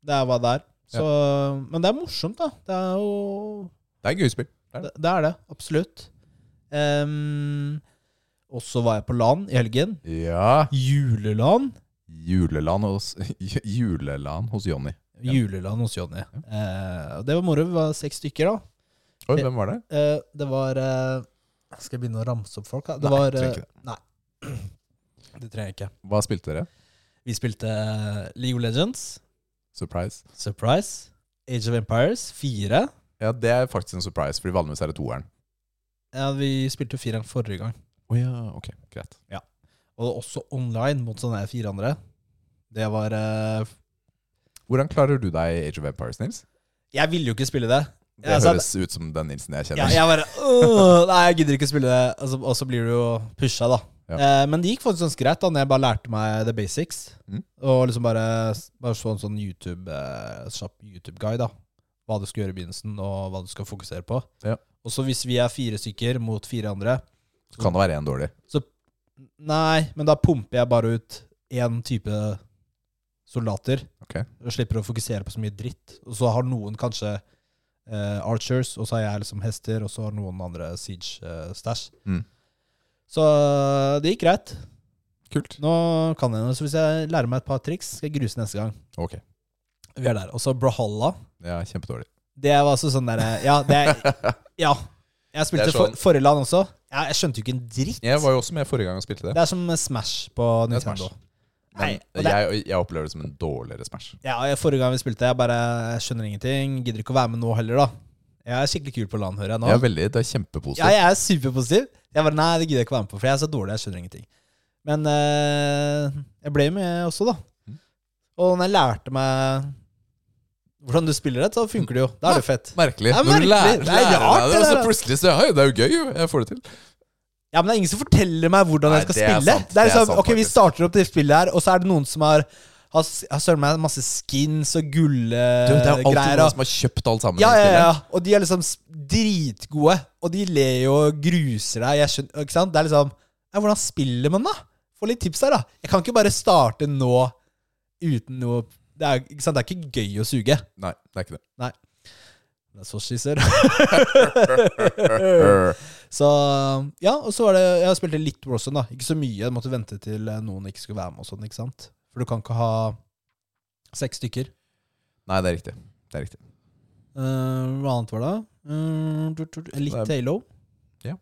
[SPEAKER 1] det er hva det er. Så, Men det er morsomt, da. Det er jo
[SPEAKER 2] Det er gøy spill.
[SPEAKER 1] Det, det er det, absolutt. Ehm, og så var jeg på LAN i helgen.
[SPEAKER 2] Ja.
[SPEAKER 1] Juleland.
[SPEAKER 2] Juleland hos, juleland hos Johnny. Ja.
[SPEAKER 1] Juleland hos Jonny. Eh, og det var moro. Vi var seks stykker, da.
[SPEAKER 2] Oi, hvem var det?
[SPEAKER 1] Eh, det var eh, Skal jeg begynne å ramse opp folk? Da? Det
[SPEAKER 2] Nei,
[SPEAKER 1] var,
[SPEAKER 2] trenger
[SPEAKER 1] eh,
[SPEAKER 2] ikke det.
[SPEAKER 1] Nei. Det trenger jeg ikke.
[SPEAKER 2] Hva spilte dere?
[SPEAKER 1] Vi spilte eh, League of Legends,
[SPEAKER 2] Surprise.
[SPEAKER 1] Surprise, Age of Empires 4.
[SPEAKER 2] Ja, det er faktisk en surprise, fordi vanligvis er det toeren.
[SPEAKER 1] Ja, vi spilte jo fireren forrige gang.
[SPEAKER 2] Å ja, ok, greit.
[SPEAKER 1] Og også online mot sånne her fire andre. Det var eh,
[SPEAKER 2] Hvordan klarer du deg i Age of Empires, Nils?
[SPEAKER 1] Jeg ville jo ikke spille det.
[SPEAKER 2] Det
[SPEAKER 1] Ja, altså,
[SPEAKER 2] høres ut som den Nilsen jeg
[SPEAKER 1] Ja,
[SPEAKER 2] kjenner.
[SPEAKER 1] jeg bare «Åh, Nei, jeg gidder ikke spille det. Og så, og så blir du jo pusha, da.
[SPEAKER 2] Ja.
[SPEAKER 1] Eh, men det gikk faktisk ganske greit da Når jeg bare lærte meg the basics.
[SPEAKER 2] Mm.
[SPEAKER 1] Og liksom bare, bare så en sånn YouTube eh, kjapp YouTube-guide. da Hva du skal gjøre i begynnelsen, og hva du skal fokusere på.
[SPEAKER 2] Ja.
[SPEAKER 1] Og så hvis vi er fire stykker mot fire andre
[SPEAKER 2] Så kan det være én dårlig.
[SPEAKER 1] Nei, men da pumper jeg bare ut én type soldater.
[SPEAKER 2] Ok.
[SPEAKER 1] Og slipper å fokusere på så mye dritt. Og så har noen kanskje eh, archers, og så har jeg liksom hester, og så har noen andre siege-stæsj.
[SPEAKER 2] Mm.
[SPEAKER 1] Så eh, det gikk greit.
[SPEAKER 2] Kult.
[SPEAKER 1] Nå kan jeg noe, så hvis jeg lærer meg et par triks, skal jeg gruse neste gang.
[SPEAKER 2] Ok.
[SPEAKER 1] Vi er der. Og så Brahalla.
[SPEAKER 2] Ja, kjempedårlig.
[SPEAKER 1] Det var altså sånn derre Ja, det er Ja. Jeg spilte
[SPEAKER 2] Det er sånn-
[SPEAKER 1] for, forrige land også. Jeg, jeg skjønte jo ikke en dritt.
[SPEAKER 2] Jeg var jo også med forrige gang og spilte det.
[SPEAKER 1] Det er som Smash på
[SPEAKER 2] Det er
[SPEAKER 1] Nintendo.
[SPEAKER 2] Smash.
[SPEAKER 1] Nei,
[SPEAKER 2] Men
[SPEAKER 1] og det-
[SPEAKER 2] jeg, jeg opplever det som en dårligere Smash.
[SPEAKER 1] Ja, jeg- Forrige gang vi spilte, jeg bare jeg skjønner ingenting. Gidder ikke å være med nå heller, da. Jeg er skikkelig kul på LAN, hører jeg nå.
[SPEAKER 2] Jeg er veldig, det er kjempepositivt.
[SPEAKER 1] Ja, jeg er superpositiv. Jeg bare, nei, det gidder jeg ikke være med på, for jeg er så dårlig, jeg skjønner ingenting. Men eh, jeg ble med også, da.
[SPEAKER 2] Mm.
[SPEAKER 1] Og når jeg lærte meg hvordan du spiller det, så funker det jo. Da er det jo fett.
[SPEAKER 2] Merkelig.
[SPEAKER 1] Det er
[SPEAKER 2] Når du lærer,
[SPEAKER 1] merkelig. Det er
[SPEAKER 2] lærer
[SPEAKER 1] rart, det
[SPEAKER 2] deg det, og så
[SPEAKER 1] der. Eh,
[SPEAKER 2] plutselig så Oi, det er jo gøy, jo. Jeg får det til.
[SPEAKER 1] Ja, men det er ingen som forteller meg hvordan
[SPEAKER 2] Nei,
[SPEAKER 1] jeg skal
[SPEAKER 2] det er
[SPEAKER 1] spille. det
[SPEAKER 2] sant,
[SPEAKER 1] er
[SPEAKER 2] det er
[SPEAKER 1] liksom,
[SPEAKER 2] sant,
[SPEAKER 1] ok, Vi
[SPEAKER 2] faktisk.
[SPEAKER 1] starter opp det spillet her, og så er det noen som har har s- har søren meg masse skins og
[SPEAKER 2] Du, det er jo alltid
[SPEAKER 1] gullgreier.
[SPEAKER 2] noen
[SPEAKER 1] og-
[SPEAKER 2] som har kjøpt alt sammen. i
[SPEAKER 1] Ja, ja,
[SPEAKER 2] spillet.
[SPEAKER 1] ja. Og de er liksom s- dritgode. Og de ler jo og gruser deg. Jeg skjønner, ikke sant? Det er liksom ja, Hvordan spiller man, da? Få litt tips her, da. Jeg kan ikke bare starte nå uten noe Det er ikke, sant? Det er ikke gøy å suge.
[SPEAKER 2] Nei, det er ikke det.
[SPEAKER 1] Det er så skisser. Så ja, og så var det Jeg spilte litt Warzone, da. Ikke så mye. Jeg måtte vente til eh, noen ikke skulle være med og sånn, ikke sant. For du kan ikke ha seks stykker.
[SPEAKER 2] Nei, det er riktig. Det er riktig.
[SPEAKER 1] Eh, hva annet var det? Mm, tut, tut, litt
[SPEAKER 2] Det
[SPEAKER 1] Halo.
[SPEAKER 2] Ja.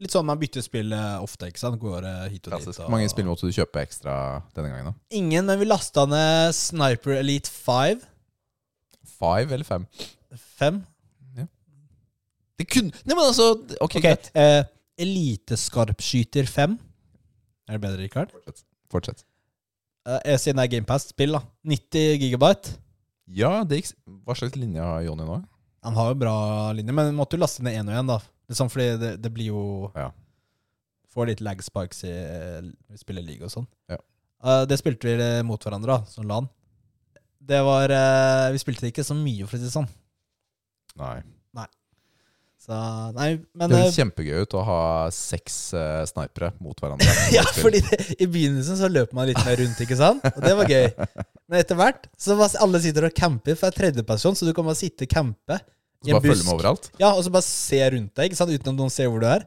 [SPEAKER 1] Litt sånn man bytter spill eh, ofte, ikke sant. Går eh, hit og
[SPEAKER 2] Klassisk.
[SPEAKER 1] dit.
[SPEAKER 2] Hvor
[SPEAKER 1] Og...
[SPEAKER 2] mange spill måtte du kjøpe ekstra denne gangen? da?
[SPEAKER 1] Ingen, men vi lasta ned Sniper Elite 5.
[SPEAKER 2] Five eller fem?
[SPEAKER 1] 5.
[SPEAKER 2] Det kunne Nei, men altså
[SPEAKER 1] Ok.
[SPEAKER 2] Ok, greit.
[SPEAKER 1] eh, Eliteskarpskyter 5. Er det bedre, Rikard?
[SPEAKER 2] Fortsett.
[SPEAKER 1] Eh, siden det er GamePast-spill, da. 90 gigabyte.
[SPEAKER 2] Ja, det gikk s- Hva slags linje har Jonny nå?
[SPEAKER 1] Han har jo bra linje, men vi måtte jo laste ned én og én, da. Liksom fordi det, det blir jo
[SPEAKER 2] Ja.
[SPEAKER 1] Får litt lag spikes i vi spiller league og sånn.
[SPEAKER 2] Ja.
[SPEAKER 1] Eh, det spilte vi mot hverandre, da, som LAN. Det var eh, Vi spilte ikke så mye, for å si det sånn.
[SPEAKER 2] Nei.
[SPEAKER 1] Så nei, men
[SPEAKER 2] Det
[SPEAKER 1] eh,
[SPEAKER 2] høres kjempegøy ut å ha seks eh, snipere mot hverandre.
[SPEAKER 1] Ja, fordi det, i begynnelsen så løp man litt mer rundt, ikke sant? Og det var gøy. Men etter hvert så var alle sitter og camper, for jeg er tredjeperson, så du kan bare sitte og campe
[SPEAKER 2] Så bare følge med overalt.
[SPEAKER 1] Ja, og så bare se rundt deg, ikke sant? uten at noen ser hvor du er.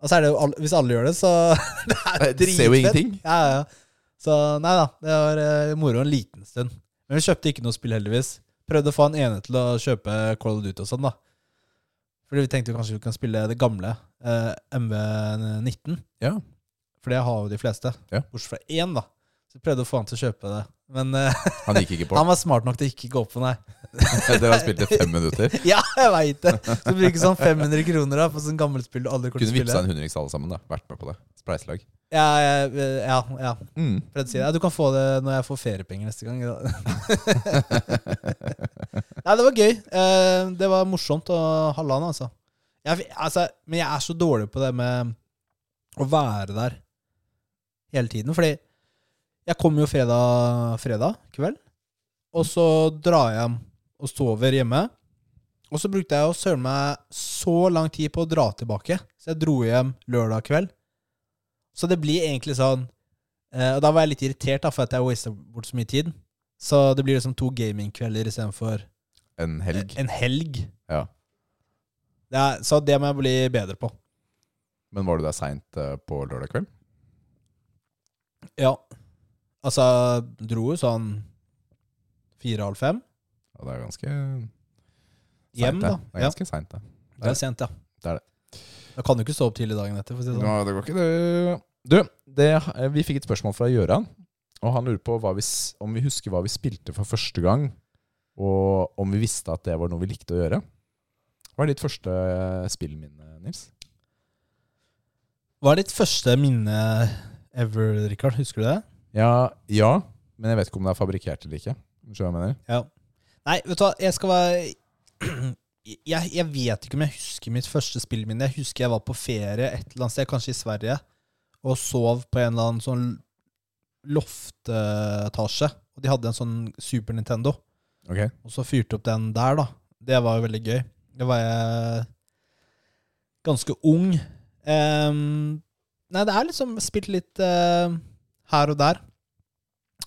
[SPEAKER 1] Og så er det jo alle, Hvis alle gjør det, så Det er
[SPEAKER 2] Nei, du ser jo
[SPEAKER 1] dritfett.
[SPEAKER 2] ingenting.
[SPEAKER 1] Ja, ja, ja. Så nei da, det var eh, moro en liten stund. Men vi kjøpte ikke noe spill, heldigvis. Prøvde å få han ene til å kjøpe Call of Duty og sånn, da. Fordi vi tenkte jo kanskje vi kan spille det gamle eh, MV19.
[SPEAKER 2] Ja.
[SPEAKER 1] For det har jo de fleste.
[SPEAKER 2] Ja.
[SPEAKER 1] Bortsett fra én, da. Så vi prøvde å få han til å kjøpe det. Men eh,
[SPEAKER 2] Han gikk ikke på.
[SPEAKER 1] han var smart nok til ikke gå på, nei.
[SPEAKER 2] Dere har spilt i fem minutter.
[SPEAKER 1] Ja, jeg veit det! Du bruker sånn 500 kroner da på sånn gammelt spill du aldri kommer
[SPEAKER 2] Kunne
[SPEAKER 1] til å
[SPEAKER 2] vippsa
[SPEAKER 1] spille.
[SPEAKER 2] en hundrings alle sammen. da Vært med på det. Spleiselag.
[SPEAKER 1] Ja, ja, ja, ja.
[SPEAKER 2] Mm.
[SPEAKER 1] Fred sier ja, du kan få det når jeg får feriepenger neste gang. Nei, det var gøy. Eh, Det var morsomt å ha LAN, altså. Jeg, fi- altså. Men jeg er så dårlig på det med å være der hele tiden. Fordi jeg kommer jo fredag, fredag kveld, og så drar jeg hjem og sover hjemme. Og så brukte jeg å søren meg så lang tid på å dra tilbake, så jeg dro hjem lørdag kveld. Så det blir egentlig sånn Eh, og da var jeg litt irritert, da, for at jeg wasta bort så mye tid. Så det blir liksom to gamingkvelder istedenfor
[SPEAKER 2] En helg.
[SPEAKER 1] eh, en helg.
[SPEAKER 2] Ja.
[SPEAKER 1] Det er, så det må jeg bli bedre på.
[SPEAKER 2] Men var du der seint eh, på lørdag kveld?
[SPEAKER 1] Ja. Altså, dro jo sånn fire-halv fem
[SPEAKER 2] Ja, det er ganske seint,
[SPEAKER 1] hjem,
[SPEAKER 2] det.
[SPEAKER 1] da.
[SPEAKER 2] Det
[SPEAKER 1] Ja,
[SPEAKER 2] er ganske seint, det.
[SPEAKER 1] det er sent, ja.
[SPEAKER 2] Det er det.
[SPEAKER 1] Da kan du ikke stå opp tidlig dagen etter, for å si det sånn.
[SPEAKER 2] Nå, det går ikke, det. Du, det, eh, vi fikk et spørsmål fra Gøran. Og han lurer på hva vi, s- om vi husker hva vi spilte for første gang, og om vi visste at det var noe vi likte å gjøre. Hva er ditt første spill min, Nils?
[SPEAKER 1] Hva er ditt første minne ever, Rikard? Husker du det?
[SPEAKER 2] Ja, ja, men jeg vet ikke om det er fabrikkert eller ikke. Skjønner du hva jeg mener?
[SPEAKER 1] Ja. Nei, vet du hva, jeg skal være jeg, jeg vet ikke om jeg husker mitt første spill min. Jeg husker jeg var på ferie et eller annet sted, kanskje i Sverige, og sov på en eller annen sånn loftetasje. Og de hadde en sånn Super Nintendo,
[SPEAKER 2] Ok.
[SPEAKER 1] og så fyrte opp den der, da. Det var jo veldig gøy. Da var jeg ganske ung. Ehm, nei, det er liksom spilt litt eh, her og der.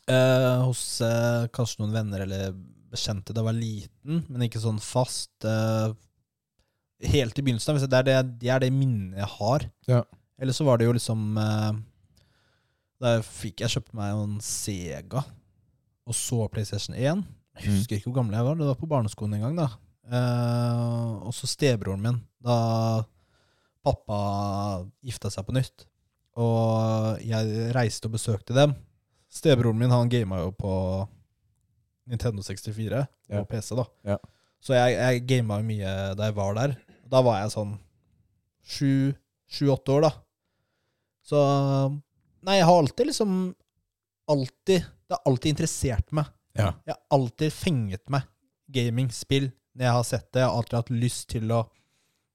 [SPEAKER 1] Eh, hos eh, kanskje noen venner eller bekjente da jeg var liten, men ikke sånn fast. eh, helt i begynnelsen. av, hvis Det er det, det er det minnet jeg har.
[SPEAKER 2] Ja.
[SPEAKER 1] Eller så var det jo liksom eh, Da jeg fikk jeg kjøpte meg en Sega, og så PlayStation 1. Jeg
[SPEAKER 2] Mm.
[SPEAKER 1] husker ikke hvor gammel jeg var. Det var på barneskolen en gang. da. Eh, og så stebroren min, da pappa gifta seg på nytt. Og jeg reiste og besøkte dem. Stebroren min han gama jo på Nintendo 64
[SPEAKER 2] Ja.
[SPEAKER 1] og PC, da.
[SPEAKER 2] Ja.
[SPEAKER 1] Så jeg, jeg gama jo mye da jeg var der. Da var jeg sånn sju, sju-åtte år, da. Så Nei, jeg har alltid liksom Alltid Det har alltid interessert meg.
[SPEAKER 2] Ja.
[SPEAKER 1] Jeg har alltid fenget meg. Gaming, spill. Når jeg har sett det, jeg har alltid hatt lyst til å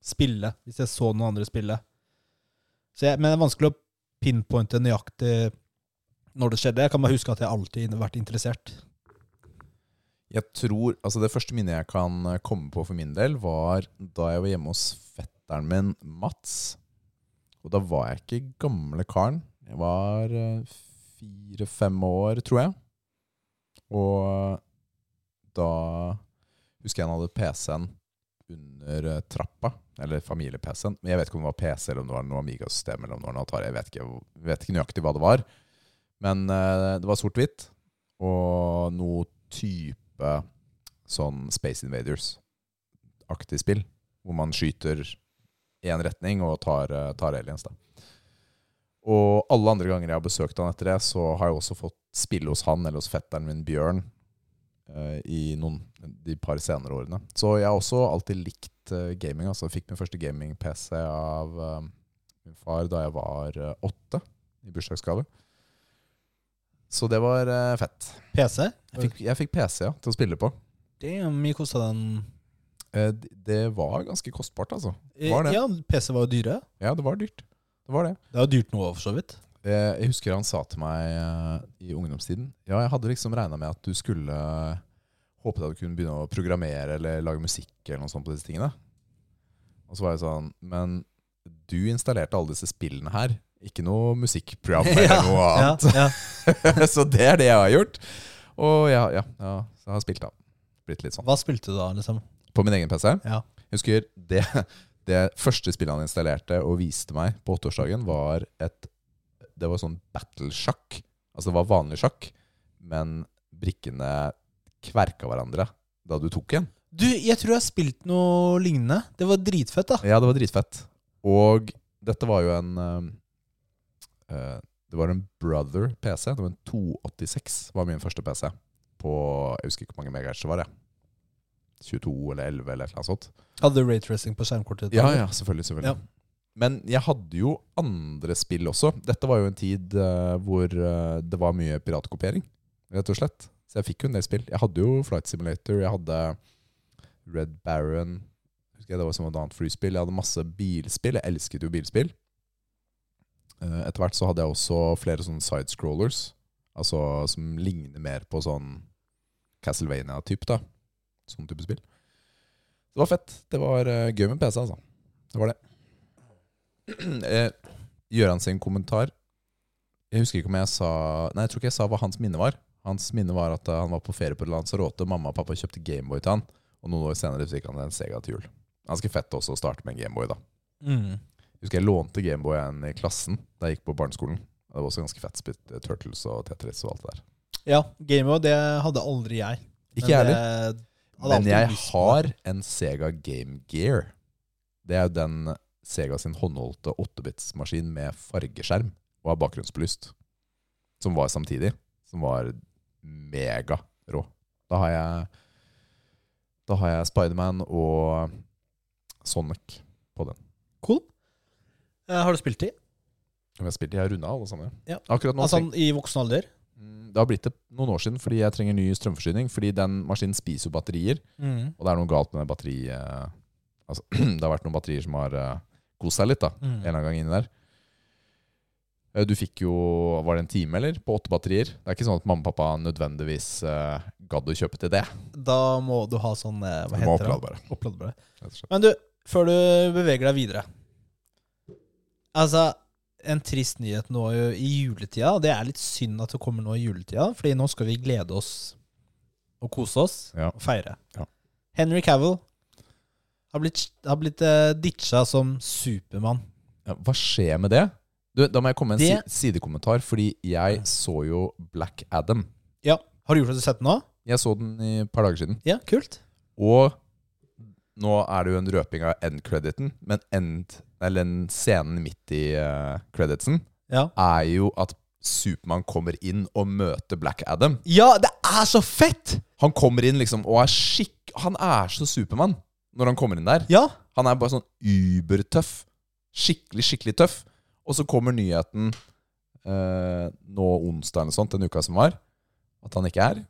[SPEAKER 1] spille hvis jeg så noen andre spille. Så jeg, men det er vanskelig å pinpointe nøyaktig når det skjedde. Jeg kan bare huske at jeg alltid har vært interessert.
[SPEAKER 2] Jeg tror, altså Det første minnet jeg kan eh, komme på for min del, var da jeg var hjemme hos fetteren min Mats. Og da var jeg ikke gamle karen. Jeg var eh, fire-fem år, tror jeg. Og eh, da husker jeg han hadde PC-en under eh, trappa. Eller familie-PC-en. Men jeg vet ikke om det var PC, eller om det var noe Amiga-system. eller om det var noe Atari. Jeg vet ikke, jeg vet ikke nøyaktig hva det var. Men eh, det var sort-hvitt. Og noe type sånn Space Invaders-aktig spill, hvor man skyter i en retning og tar, eh, tar aliens, da. Og alle andre ganger jeg har besøkt han etter det, så har jeg også fått spille hos han eller hos fetteren min Bjørn eh, i noen, de par senere årene. Så jeg har også alltid likt eh, gaming. altså Jeg fikk min første gaming-PC av eh, min far da jeg var eh, åtte, i bursdagsgave. Så det var eh, fett.
[SPEAKER 1] PC?
[SPEAKER 2] Jeg fikk, jeg fikk PC ja, til å spille på.
[SPEAKER 1] Det er mye kosta den
[SPEAKER 2] Eh, d- Det var ganske kostbart, altså. Var det?
[SPEAKER 1] Eh, Ja, PC var jo dyre.
[SPEAKER 2] Ja, det var dyrt. Det var det.
[SPEAKER 1] Det er jo dyrt nå, for så vidt.
[SPEAKER 2] Eh, Jeg husker han sa til meg eh, i ungdomstiden Ja, jeg hadde liksom regna med at du skulle eh, håpet at du kunne begynne å programmere eller lage musikk eller noe sånt på disse tingene. Og så var jeg sånn Men du installerte alle disse spillene her. Ikke noe musikkprogram eller noe annet.
[SPEAKER 1] Ja, ja.
[SPEAKER 2] så det er det jeg har gjort. Og ja, ja, ja så jeg har spilt, da. Blitt litt sånn.
[SPEAKER 1] Hva spilte du da, liksom?
[SPEAKER 2] På min egen PC?
[SPEAKER 1] Ja.
[SPEAKER 2] Jeg husker det, det første spillet han installerte og viste meg på åtteårsdagen, var et Det var sånn battlesjakk. Altså det var vanlig sjakk, men brikkene kverka hverandre da du tok en.
[SPEAKER 1] Du, jeg tror jeg har spilt noe lignende. Det var dritfett, da.
[SPEAKER 2] Ja, det var dritfett. Og dette var jo en eh, eh, Det var en Brother PC. Det var en 286 var min første PC. På Jeg husker ikke hvor mange megahertz det var. Jeg. 22 eller 11 eller et eller annet sånt.
[SPEAKER 1] Hadde du raytracing på skjermkortet?
[SPEAKER 2] Ja, ja, selvfølgelig. selvfølgelig.
[SPEAKER 1] Ja.
[SPEAKER 2] Men jeg hadde jo andre spill også. Dette var jo en tid eh, hvor eh, det var mye piratkopiering, rett og slett. Så jeg fikk jo en del spill. Jeg hadde jo Flight Simulator, jeg hadde Red Baron Husker jeg Det var som et annet flyspill. Jeg hadde masse bilspill. Jeg elsket jo bilspill. Eh, Etter hvert så hadde jeg også flere sånne sidescrollers, altså som ligner mer på sånn Castlevania-type, da. Sånn type spill. Det var fett. Det var eh, gøy med PC, altså. Det var det. Eh, Gjøran sin kommentar Jeg husker ikke om jeg sa Nei, jeg tror ikke jeg sa hva hans minne var. Hans minne var at eh, han var på ferie på Lanzarote, mamma og pappa kjøpte Gameboy til han, og noen år senere fikk han en Sega til jul. Ganske fett også å starte med en Gameboy, da.
[SPEAKER 1] Mm.
[SPEAKER 2] Jeg husker jeg lånte Gameboyen i klassen da jeg gikk på barneskolen. Det var også ganske fett spilt eh, Turtles og Tetris og alt det der.
[SPEAKER 1] ja Gameboy, det hadde aldri jeg. Men
[SPEAKER 2] Ikke jeg heller.
[SPEAKER 1] det- hadde
[SPEAKER 2] Men
[SPEAKER 1] alltid
[SPEAKER 2] jeg
[SPEAKER 1] lyst på
[SPEAKER 2] har en Sega Game Gear. Det er jo den Sega sin håndholdte 8-bits-maskin med fargeskjerm og har bakgrunnsbelyst. Som var samtidig. Som var megarå. Da har jeg Da har jeg Spiderman og Sonic på den.
[SPEAKER 1] Cool. Eh, har du spilt de?
[SPEAKER 2] Som jeg spilte. Jeg har runda alle sammen.
[SPEAKER 1] Ja.
[SPEAKER 2] Akkurat nå
[SPEAKER 1] Altså
[SPEAKER 2] treng-
[SPEAKER 1] i voksen alder?
[SPEAKER 2] Mm, Det har blitt det noen år siden fordi jeg trenger ny strømforsyning. Fordi den maskinen spiser jo batterier.
[SPEAKER 1] Mm.
[SPEAKER 2] Og det er noe galt med det batteri... eh, altså, det har vært noen batterier som har eh, kost seg litt, da.
[SPEAKER 1] Mm.
[SPEAKER 2] En eller annen gang inni der. Eh, Du fikk jo Var det en time, eller? På åtte batterier. Det er ikke sånn at mamma og pappa nødvendigvis uh, gadd å kjøpe til det.
[SPEAKER 1] Da må du ha sånn eh, Hva
[SPEAKER 2] Du må
[SPEAKER 1] heter det?
[SPEAKER 2] opplade bare,
[SPEAKER 1] Oppladbare.
[SPEAKER 2] rett og slett.
[SPEAKER 1] Men du, før du beveger deg videre Altså, en trist nyhet nå jo i juletida. og Det er litt synd at det kommer nå i juletida, Fordi nå skal vi glede oss og kose oss
[SPEAKER 2] Ja.
[SPEAKER 1] og feire.
[SPEAKER 2] Ja.
[SPEAKER 1] Henry Cavill har blitt, har blitt eh, ditcha som Supermann.
[SPEAKER 2] Ja, hva skjer med det? Du, da må jeg komme med en
[SPEAKER 1] Det-
[SPEAKER 2] si sidekommentar, fordi jeg så jo Black Adam.
[SPEAKER 1] Ja, Har du gjort det du sett den nå?
[SPEAKER 2] Jeg så den i et par dager siden.
[SPEAKER 1] Ja, kult.
[SPEAKER 2] Og nå er det jo en røping av end-crediten, men end, eller den scenen midt i eh, creditsen
[SPEAKER 1] Ja.
[SPEAKER 2] er jo at Supermann kommer inn og møter Black Adam.
[SPEAKER 1] Ja, det er så fett!
[SPEAKER 2] Han kommer inn liksom og er skikk... Han er så Supermann når han kommer inn der.
[SPEAKER 1] Ja.
[SPEAKER 2] Han er bare sånn ubertøff. Skikkelig, skikkelig tøff. Og så kommer nyheten eh, nå onsdag eller sånt, den uka som var, at han ikke er.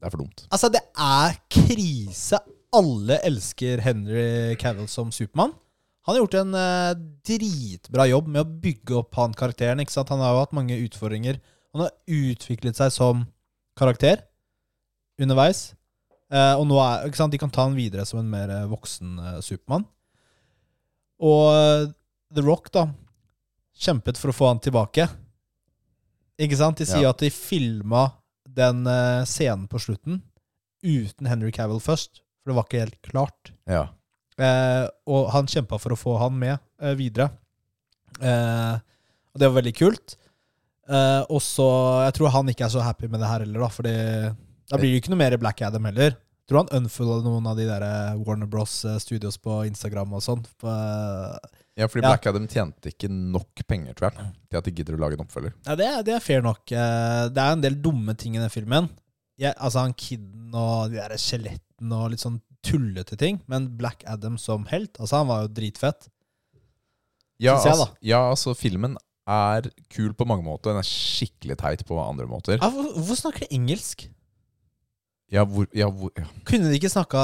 [SPEAKER 2] Det er for dumt.
[SPEAKER 1] Altså, det er krise. Alle elsker Henry Cavill som Supermann. Han har gjort en eh, dritbra jobb med å bygge opp han karakteren. ikke sant? Han har jo hatt mange utfordringer. Han har utviklet seg som karakter underveis. Eh, og nå er, ikke sant? De kan ta han videre som en mer eh, voksen eh, Supermann. Og eh, The Rock, da, kjempet for å få han tilbake. Ikke sant? De sier
[SPEAKER 2] Ja.
[SPEAKER 1] at de filma den eh, scenen på slutten uten Henry Cavill først, for det var ikke helt klart.
[SPEAKER 2] Ja.
[SPEAKER 1] Eh, og han kjempa for å få han med eh, videre. Eh, og det var veldig kult. Eh, og så Jeg tror han ikke er så happy med det her heller, da, fordi da blir det jo ikke noe mer Black Adam heller. Jeg tror han unfolda noen av de der eh, Warner Bros. eh, Studios på Instagram og sånn. på, eh,
[SPEAKER 2] Ja, fordi
[SPEAKER 1] Ja.
[SPEAKER 2] Black Adam tjente ikke nok penger, tror jeg, til at de gidder å lage en oppfølger.
[SPEAKER 1] Ja, det, er- det er fair nok. Eh, Det er en del dumme ting i den filmen. Jeg, altså Han kidden og de der skjelettene og litt sånn tullete ting. Men Black Adam som helt, altså han var jo dritfett.
[SPEAKER 2] Ja,
[SPEAKER 1] Synes jeg,
[SPEAKER 2] altså, ja, altså, filmen er kul på mange måter. Den er skikkelig teit på andre måter.
[SPEAKER 1] Ja, hvor- Hvorfor snakker de engelsk?
[SPEAKER 2] Ja, hvor, ja, hvor, ja.
[SPEAKER 1] Kunne de ikke snakka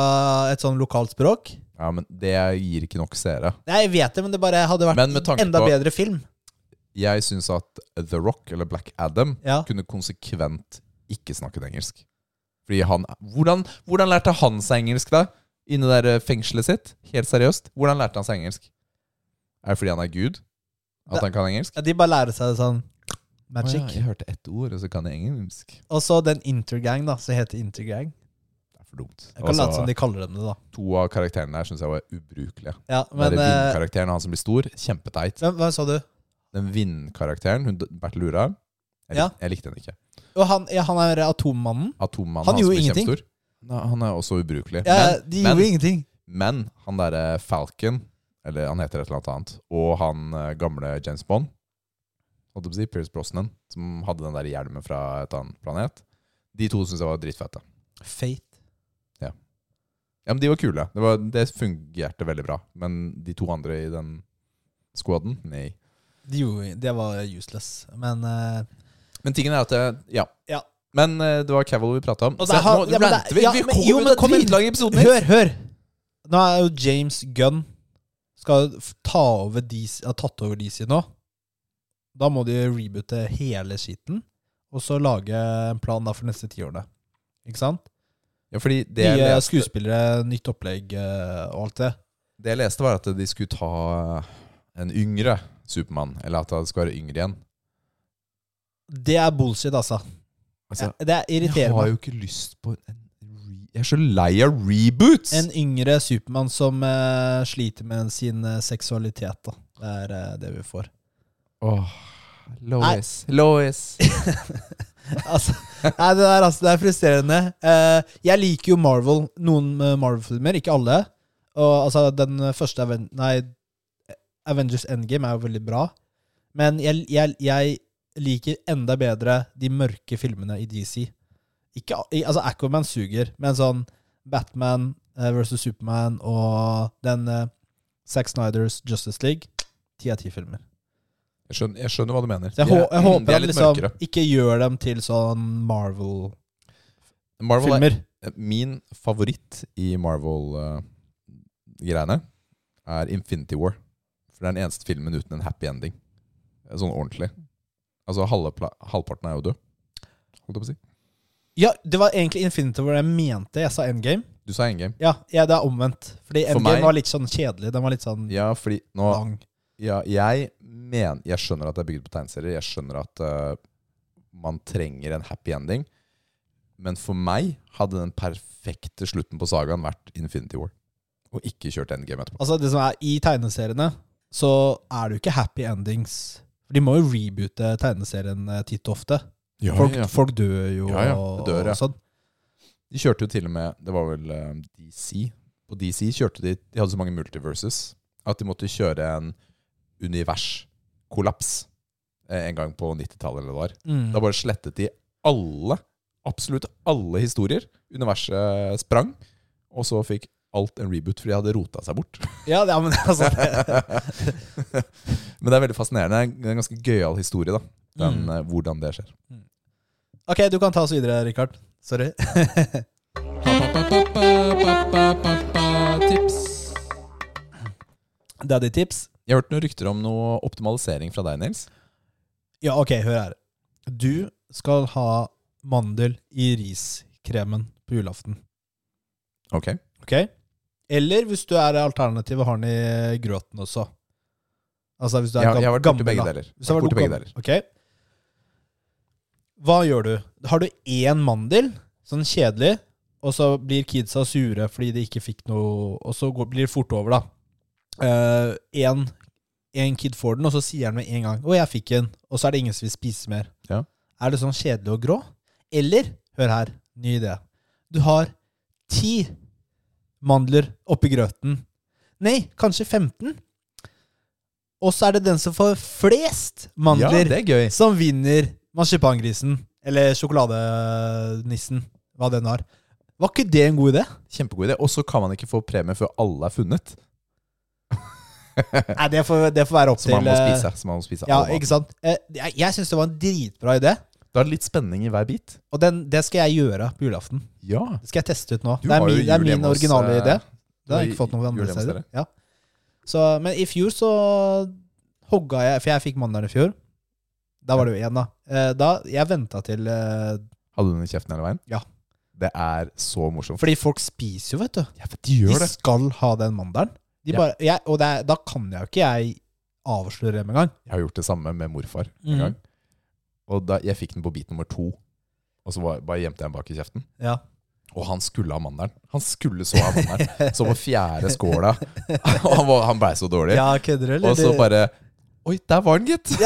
[SPEAKER 1] et sånn lokalt språk?
[SPEAKER 2] ja men det gir ikke nok seere.
[SPEAKER 1] Nei, jeg vet det, men det bare hadde vært
[SPEAKER 2] Men med tanke
[SPEAKER 1] enda
[SPEAKER 2] på-
[SPEAKER 1] bedre film.
[SPEAKER 2] Jeg syns at The Rock, eller Black Adam,
[SPEAKER 1] Ja.
[SPEAKER 2] kunne konsekvent ikke snakket engelsk. Fordi han Hvordan, hvordan lærte han seg engelsk, da? Inni det der eh, fengselet sitt? Helt seriøst. Hvordan lærte han seg engelsk? Er det fordi han er gud? At
[SPEAKER 1] Det-
[SPEAKER 2] han kan engelsk?
[SPEAKER 1] Ja, De bare lærer seg sånn magic.
[SPEAKER 2] Å ja, jeg hørte ett ord, og så kan jeg engelsk.
[SPEAKER 1] Og så den Intergang, da, som heter Intergang.
[SPEAKER 2] Det er for dumt.
[SPEAKER 1] Jeg kan
[SPEAKER 2] Altså,
[SPEAKER 1] late som de kaller dem det, da.
[SPEAKER 2] To av karakterene der syns jeg var ubrukelige.
[SPEAKER 1] Ja,
[SPEAKER 2] Men,
[SPEAKER 1] men
[SPEAKER 2] den
[SPEAKER 1] eh,
[SPEAKER 2] vindkarakteren, han som blir stor, kjempeteit.
[SPEAKER 1] hvem, Hvem sa du?
[SPEAKER 2] Den vindkarakteren, hun Bertil Lura, jeg, lik-
[SPEAKER 1] Ja.
[SPEAKER 2] jeg likte henne ikke.
[SPEAKER 1] Og han, ja, han er atommannen. Han
[SPEAKER 2] Atommannen, han, som
[SPEAKER 1] gjorde
[SPEAKER 2] blir
[SPEAKER 1] ingenting.
[SPEAKER 2] kjempestor. Nei, Han er også ubrukelig.
[SPEAKER 1] Ja,
[SPEAKER 2] Men-
[SPEAKER 1] de
[SPEAKER 2] men-
[SPEAKER 1] gjorde ingenting.
[SPEAKER 2] Men han derre Falcon, eller han heter et eller annet annet, og han eh, gamle James Bond, holdt jeg på å si, Pierce Brosnan, som hadde den der hjelmen fra et annet planet, de to syns jeg var dritfette.
[SPEAKER 1] Fate.
[SPEAKER 2] Ja, men de var kule. Det, var, det fungerte veldig bra. Men de to andre i den squaden, nei.
[SPEAKER 1] De gjorde, det var useless. Men eh,
[SPEAKER 2] Men tingen er at det, ja.
[SPEAKER 1] Ja.
[SPEAKER 2] Men eh, det var Cavill vi prata om.
[SPEAKER 1] Og
[SPEAKER 2] Så
[SPEAKER 1] det har-
[SPEAKER 2] nå
[SPEAKER 1] ja, men det-
[SPEAKER 2] ranter vi!
[SPEAKER 1] ja,
[SPEAKER 2] vi
[SPEAKER 1] men-
[SPEAKER 2] kommer
[SPEAKER 1] jo,
[SPEAKER 2] jo,
[SPEAKER 1] men
[SPEAKER 2] til
[SPEAKER 1] kom inn.
[SPEAKER 2] dritlang episode, Nils!
[SPEAKER 1] hør, hør! Nå er jo James Gunn skal f- ta over DC, har tatt over DC nå. Da må de reboote hele skitten, og så lage en plan da for neste tiårene. Ikke sant?
[SPEAKER 2] Ja, fordi det jeg,
[SPEAKER 1] Nye
[SPEAKER 2] leste,
[SPEAKER 1] skuespillere, nytt opplegg eh, og alt det.
[SPEAKER 2] det jeg leste, var at de skulle ta eh, en yngre Supermann. Eller at han skulle være yngre igjen.
[SPEAKER 1] Det er bullshit, altså.
[SPEAKER 2] Altså,
[SPEAKER 1] Det er
[SPEAKER 2] jeg
[SPEAKER 1] irriterende.
[SPEAKER 2] har jo ikke lyst på en re Jeg er så lei av reboots!
[SPEAKER 1] En yngre Supermann som eh, sliter med sin eh, seksualitet. Da. Det er eh, det vi får.
[SPEAKER 2] Åh, Lois. Lois.
[SPEAKER 1] altså, nei, det, der, altså, det er frustrerende. Eh, jeg liker jo Marvel, noen eh, Marvel-filmer, ikke alle. Og altså, den første Aven nei, Avengers Endgame er jo veldig bra. Men jeg, jeg, jeg liker enda bedre de mørke filmene i DC. Ikke, a- i- altså, Aquaman suger, men sånn Batman eh, versus Superman og den eh, Zack Snyders Justice League, ti av ti filmer.
[SPEAKER 2] Jeg skjønner, jeg skjønner hva du mener.
[SPEAKER 1] Så jeg,
[SPEAKER 2] De er- mm,
[SPEAKER 1] hå- jeg håper
[SPEAKER 2] de er
[SPEAKER 1] han
[SPEAKER 2] litt
[SPEAKER 1] liksom
[SPEAKER 2] mørkere.
[SPEAKER 1] ikke gjør dem til sånn Marvel-filmer.
[SPEAKER 2] Marvel er, Eh, min favoritt i Marvel-greiene er Infinity War. For det er den eneste filmen uten en happy ending. Eh, Sånn ordentlig. Altså halve, pla- halvparten er jo død. Holdt jeg på å si.
[SPEAKER 1] Ja, det var egentlig Infinity War jeg mente. Jeg sa Endgame.
[SPEAKER 2] Du sa Endgame.
[SPEAKER 1] Ja, ja det er omvendt. Fordi
[SPEAKER 2] For
[SPEAKER 1] Endgame
[SPEAKER 2] meg-
[SPEAKER 1] var litt sånn kjedelig. Den var litt sånn
[SPEAKER 2] Ja, fordi nå
[SPEAKER 1] lang.
[SPEAKER 2] Ja, jeg mener Jeg skjønner at det er bygd på tegneserier. Jeg skjønner at eh, man trenger en happy ending. Men for meg hadde den perfekte slutten på sagaen vært Infinity War. Og ikke kjørt endgame etterpå.
[SPEAKER 1] Altså, det som er i tegneseriene, så er det jo ikke happy endings. For De må jo reboote tegneserien eh, titt og ofte.
[SPEAKER 2] Ja,
[SPEAKER 1] Folk, folk dør jo
[SPEAKER 2] Ja, ja,
[SPEAKER 1] og-
[SPEAKER 2] det dør, ja.
[SPEAKER 1] og sånn.
[SPEAKER 2] De kjørte jo til og med Det var vel eh, DC. På DC kjørte de De hadde så mange multiverses at de måtte kjøre en universkollaps. eh, en gang på 90-tallet eller hva det var.
[SPEAKER 1] Mm.
[SPEAKER 2] Da bare slettet de alle, absolutt alle historier. Universet sprang, og så fikk alt en reboot, for de hadde rota seg bort.
[SPEAKER 1] Ja, ja, men altså det,
[SPEAKER 2] Men det er veldig fascinerende. Det er en ganske gøyal historie, da. Den,
[SPEAKER 1] Mm.
[SPEAKER 2] eh, Hvordan det skjer.
[SPEAKER 1] Ok, du kan ta oss videre, Richard. Sorry.
[SPEAKER 2] Tips.
[SPEAKER 1] Daddy-tips.
[SPEAKER 2] Jeg har hørt noen rykter om noe optimalisering fra deg, Nils.
[SPEAKER 1] Ja, ok, hør her. Du skal ha mandel i riskremen på julaften.
[SPEAKER 2] Ok.
[SPEAKER 1] Ok? Eller hvis du er alternativ og har den i grøten også. Altså hvis du er
[SPEAKER 2] Jeg, jeg
[SPEAKER 1] gammel.
[SPEAKER 2] har vært borti
[SPEAKER 1] gammel,
[SPEAKER 2] begge
[SPEAKER 1] da.
[SPEAKER 2] deler.
[SPEAKER 1] Hvis du har vært
[SPEAKER 2] Borti begge
[SPEAKER 1] gammel.
[SPEAKER 2] deler.
[SPEAKER 1] Ok. Hva gjør du? Har du én mandel, sånn kjedelig, og så blir kidsa sure fordi de ikke fikk noe, og så går, blir det fort over, da. Én kid får den, og så sier han med en gang 'Å, jeg fikk den', og så er det ingen som vil spise mer.
[SPEAKER 2] Ja.
[SPEAKER 1] Er det sånn kjedelig og grå? Eller, hør her, ny idé. Du har ti mandler oppi grøten. Nei, kanskje 15. Og så er det den som får flest mandler
[SPEAKER 2] Ja, det er gøy.
[SPEAKER 1] som vinner marsipangrisen, eller sjokoladenissen, hva den har. Var ikke det en god idé?
[SPEAKER 2] Kjempegod idé. Og så kan man ikke få premie før alle er funnet.
[SPEAKER 1] Nei, det får, det får være opp
[SPEAKER 2] Så man
[SPEAKER 1] til
[SPEAKER 2] må
[SPEAKER 1] eh,
[SPEAKER 2] spise. Så man må spise
[SPEAKER 1] Ja,
[SPEAKER 2] alle.
[SPEAKER 1] ikke sant? Eh, Jeg, jeg syns det var en dritbra idé,
[SPEAKER 2] Da er det litt spenning i hver bit.
[SPEAKER 1] og den, det skal jeg gjøre på julaften.
[SPEAKER 2] Ja.
[SPEAKER 1] Det skal jeg teste ut nå.
[SPEAKER 2] Du
[SPEAKER 1] det er
[SPEAKER 2] har jo
[SPEAKER 1] min, det er
[SPEAKER 2] jul
[SPEAKER 1] min
[SPEAKER 2] hjemme hos,
[SPEAKER 1] originale
[SPEAKER 2] eh,
[SPEAKER 1] idé.
[SPEAKER 2] du
[SPEAKER 1] Det har
[SPEAKER 2] har
[SPEAKER 1] jeg ikke fått noen
[SPEAKER 2] jul
[SPEAKER 1] andre
[SPEAKER 2] hjemme hos
[SPEAKER 1] steder.
[SPEAKER 2] dere.
[SPEAKER 1] Ja. Så, men i fjor så hogga jeg For jeg fikk mandelen i fjor. Da var det jo én, da. Eh, Da, Jeg venta til eh,
[SPEAKER 2] Hadde du den i kjeften hele veien?
[SPEAKER 1] Ja.
[SPEAKER 2] Det er så morsomt.
[SPEAKER 1] Fordi folk spiser jo, vet du.
[SPEAKER 2] ja, de
[SPEAKER 1] De skal ha den mandelen. De
[SPEAKER 2] Ja.
[SPEAKER 1] bare, jeg, og det er, da kan jeg jo ikke jeg avsløre dem engang.
[SPEAKER 2] Jeg har gjort det samme med morfar
[SPEAKER 1] Mhm.
[SPEAKER 2] en gang. Og da, jeg fikk den på bit nummer to. Og så var, bare gjemte jeg den bak i kjeften.
[SPEAKER 1] Ja.
[SPEAKER 2] Og han skulle ha mandelen. Han skulle så ha mandelen. Så på fjerde skåla. Og han, var- han blei så dårlig.
[SPEAKER 1] Ja, kødder du, eller?
[SPEAKER 2] og så bare Oi, der var den, gitt!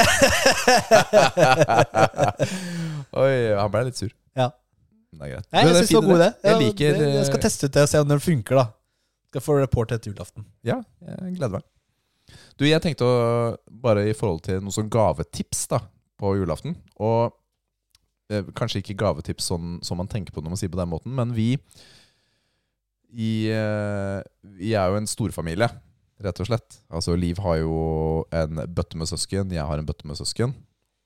[SPEAKER 2] Oi, han blei litt sur.
[SPEAKER 1] Ja.
[SPEAKER 2] Men Det er greit.
[SPEAKER 1] Nei,
[SPEAKER 2] Men
[SPEAKER 1] jeg
[SPEAKER 2] det er
[SPEAKER 1] syns det var
[SPEAKER 2] fin
[SPEAKER 1] god idé.
[SPEAKER 2] idé. Jeg liker
[SPEAKER 1] Jeg skal
[SPEAKER 2] eh,
[SPEAKER 1] teste ut det og se om den funker, da. Skal få report etter julaften.
[SPEAKER 2] Ja, jeg gleder meg. Du, jeg tenkte å, bare i forhold til noen sånn gavetips da, på julaften. Og eh, kanskje ikke gavetips sånn som man tenker på når man sier på den måten, men vi i, eh, Vi er jo en storfamilie, rett og slett. Altså, Liv har jo en bøtte med søsken, jeg har en bøtte med søsken.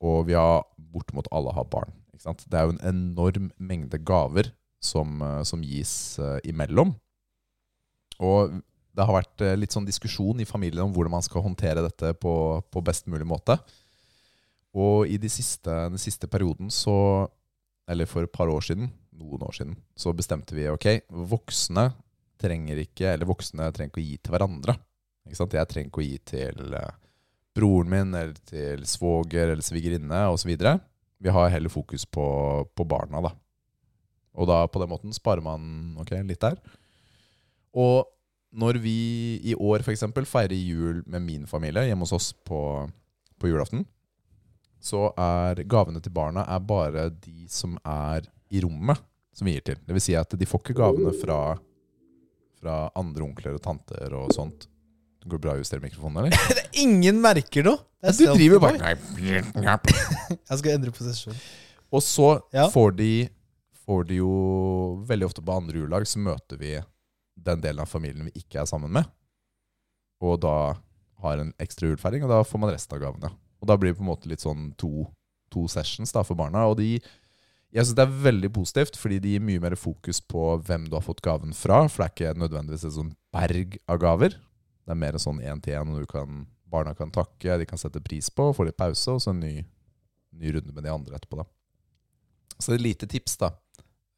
[SPEAKER 2] Og vi har bortimot alle har barn. Ikke sant? Det er jo en enorm mengde gaver som, eh, som gis eh, imellom. Og det har vært eh, litt sånn diskusjon i familien om hvordan man skal håndtere dette på, på best mulig måte. Og i de siste, den siste perioden så Eller for et par år siden, noen år siden, så bestemte vi ok, voksne trenger ikke Eller voksne trenger ikke å gi til hverandre. Ikke sant? Jeg trenger ikke å gi til eh, broren min eller til svoger eller svigerinne osv. Vi har heller fokus på, på barna, da. Og da på den måten sparer man ok, litt der. Og når vi i år f.eks. feirer jul med min familie hjemme hos oss på, på julaften, så er gavene til barna er bare de som er i rommet, som vi gir til. Det vil si at de får ikke gavene fra, fra andre onkler og tanter og sånt. Det går bra å justere mikrofonen, eller?
[SPEAKER 1] Ingen merker noe! Det er
[SPEAKER 2] Du driver
[SPEAKER 1] selfie, boy.
[SPEAKER 2] bare
[SPEAKER 1] Jeg skal endre posisjon.
[SPEAKER 2] Og så
[SPEAKER 1] Ja.
[SPEAKER 2] får, de, får de jo Veldig ofte på andre juledag så møter vi den delen av familien vi ikke er sammen med. Og da har en ekstra julefeiring, og da får man resten av gavene. Og da blir det på en måte litt sånn to, to sessions da for barna. Og de jeg synes det er veldig positivt, fordi de gir mye mer fokus på hvem du har fått gaven fra. For det er ikke nødvendigvis et sånn berg av gaver. Det er mer en sånn én-til-én, og du kan, barna kan takke, de kan sette pris på, få litt pause, og så en ny, ny runde med de andre etterpå. da. Så et lite tips, da.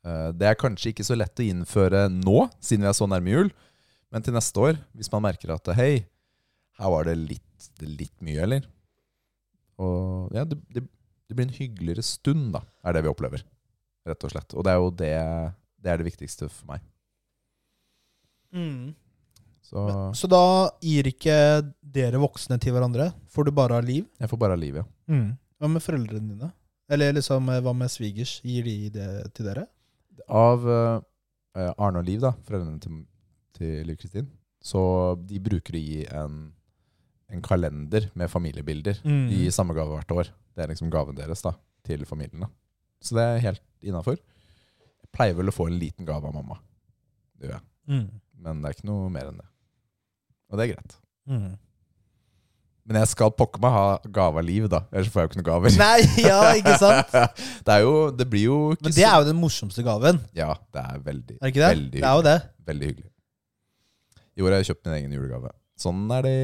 [SPEAKER 2] Eh, Det er kanskje ikke så lett å innføre nå, siden vi er så nærme jul. Men til neste år, hvis man merker at hei, her var det litt, litt mye, eller? Og ja, det, det, det blir en hyggeligere stund, da, er det vi opplever. Rett og slett. Og det er jo det, det, er det viktigste for meg. Så
[SPEAKER 1] Så da gir ikke dere voksne til hverandre? Får du bare ha liv?
[SPEAKER 2] jeg får bare ha livet, ja.
[SPEAKER 1] Hva med foreldrene dine? Eller liksom, eh, hva med svigers? Gir de det til dere?
[SPEAKER 2] Av eh, Arne og Liv, da, foreldrene til, til Liv Kristin, så de bruker å gi en, en kalender med familiebilder
[SPEAKER 1] Mm.
[SPEAKER 2] i samme gave hvert år. Det er liksom gaven deres da, til familien. Da. Så det er helt innafor. Jeg pleier vel å få en liten gave av mamma. Det gjør jeg.
[SPEAKER 1] Mm.
[SPEAKER 2] Men det er ikke noe mer enn det. Og det er greit.
[SPEAKER 1] Mm.
[SPEAKER 2] Men jeg skal pokker meg ha gave av liv, da. Ellers får jeg jo ikke noen gaver.
[SPEAKER 1] Nei, ja, ikke sant?
[SPEAKER 2] det, er jo, det blir jo ikke
[SPEAKER 1] Men det er jo den morsomste gaven,
[SPEAKER 2] så Ja, det er veldig,
[SPEAKER 1] er det ikke det?
[SPEAKER 2] Veldig
[SPEAKER 1] det er jo det.
[SPEAKER 2] veldig hyggelig. I år har jeg kjøpt min egen julegave. Sånn er det.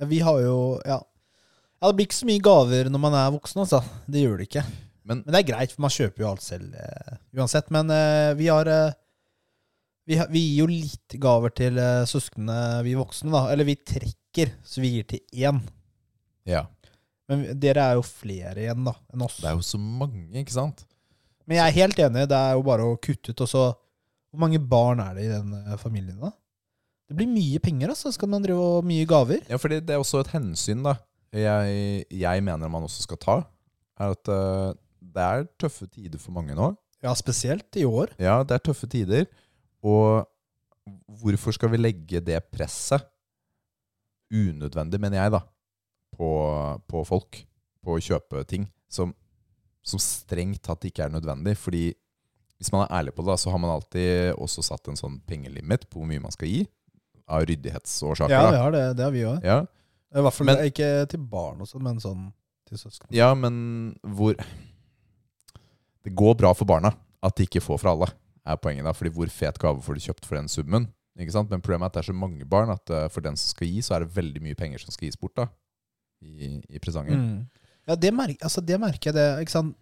[SPEAKER 1] Ja, vi har jo ja. ja, det blir ikke så mye gaver når man er voksen, altså. Det gjør det ikke.
[SPEAKER 2] Men-
[SPEAKER 1] det er greit, for man kjøper jo alt selv eh, uansett. Men eh, vi har eh, vi, har- vi gir jo litt gaver til eh, søsknene, vi voksne, da. Eller vi trekker, så vi gir til én.
[SPEAKER 2] Ja.
[SPEAKER 1] Men vi- dere er jo flere igjen da, enn oss.
[SPEAKER 2] Det er jo så mange, ikke sant?
[SPEAKER 1] Men jeg er helt enig, det er jo bare å kutte ut. Og så, hvor mange barn er det i den eh, familien, da? Det blir mye penger, altså. Skal man drive og mye gaver?
[SPEAKER 2] Ja, fordi det er også et hensyn da jeg, jeg mener man også skal ta, er at eh, det er tøffe tider for mange nå.
[SPEAKER 1] Ja, spesielt i år.
[SPEAKER 2] Ja, det er tøffe tider. Og hvorfor skal vi legge det presset, unødvendig mener jeg da, på, på folk, på å kjøpe ting som, som strengt tatt ikke er nødvendig? Fordi hvis man er ærlig på det, da, så har man alltid også satt en sånn pengelimit på hvor mye man skal gi, av ryddighetsårsaker.
[SPEAKER 1] Ja,
[SPEAKER 2] da.
[SPEAKER 1] vi har det. Det har vi òg.
[SPEAKER 2] Ja.
[SPEAKER 1] I hvert fall
[SPEAKER 2] Men-
[SPEAKER 1] ikke til barn og sånn, men sånn til søsken.
[SPEAKER 2] Ja, men hvor Det går bra for barna at de ikke får fra alle, er poenget. da, fordi hvor fet gave får de kjøpt for den summen? ikke sant? Men problemet er at det er så mange barn at eh, for den som skal gi, så er det veldig mye penger som skal gis bort da, i, i presanger.
[SPEAKER 1] Mm. Ja, det, merk, altså, det merker jeg. det, ikke sant?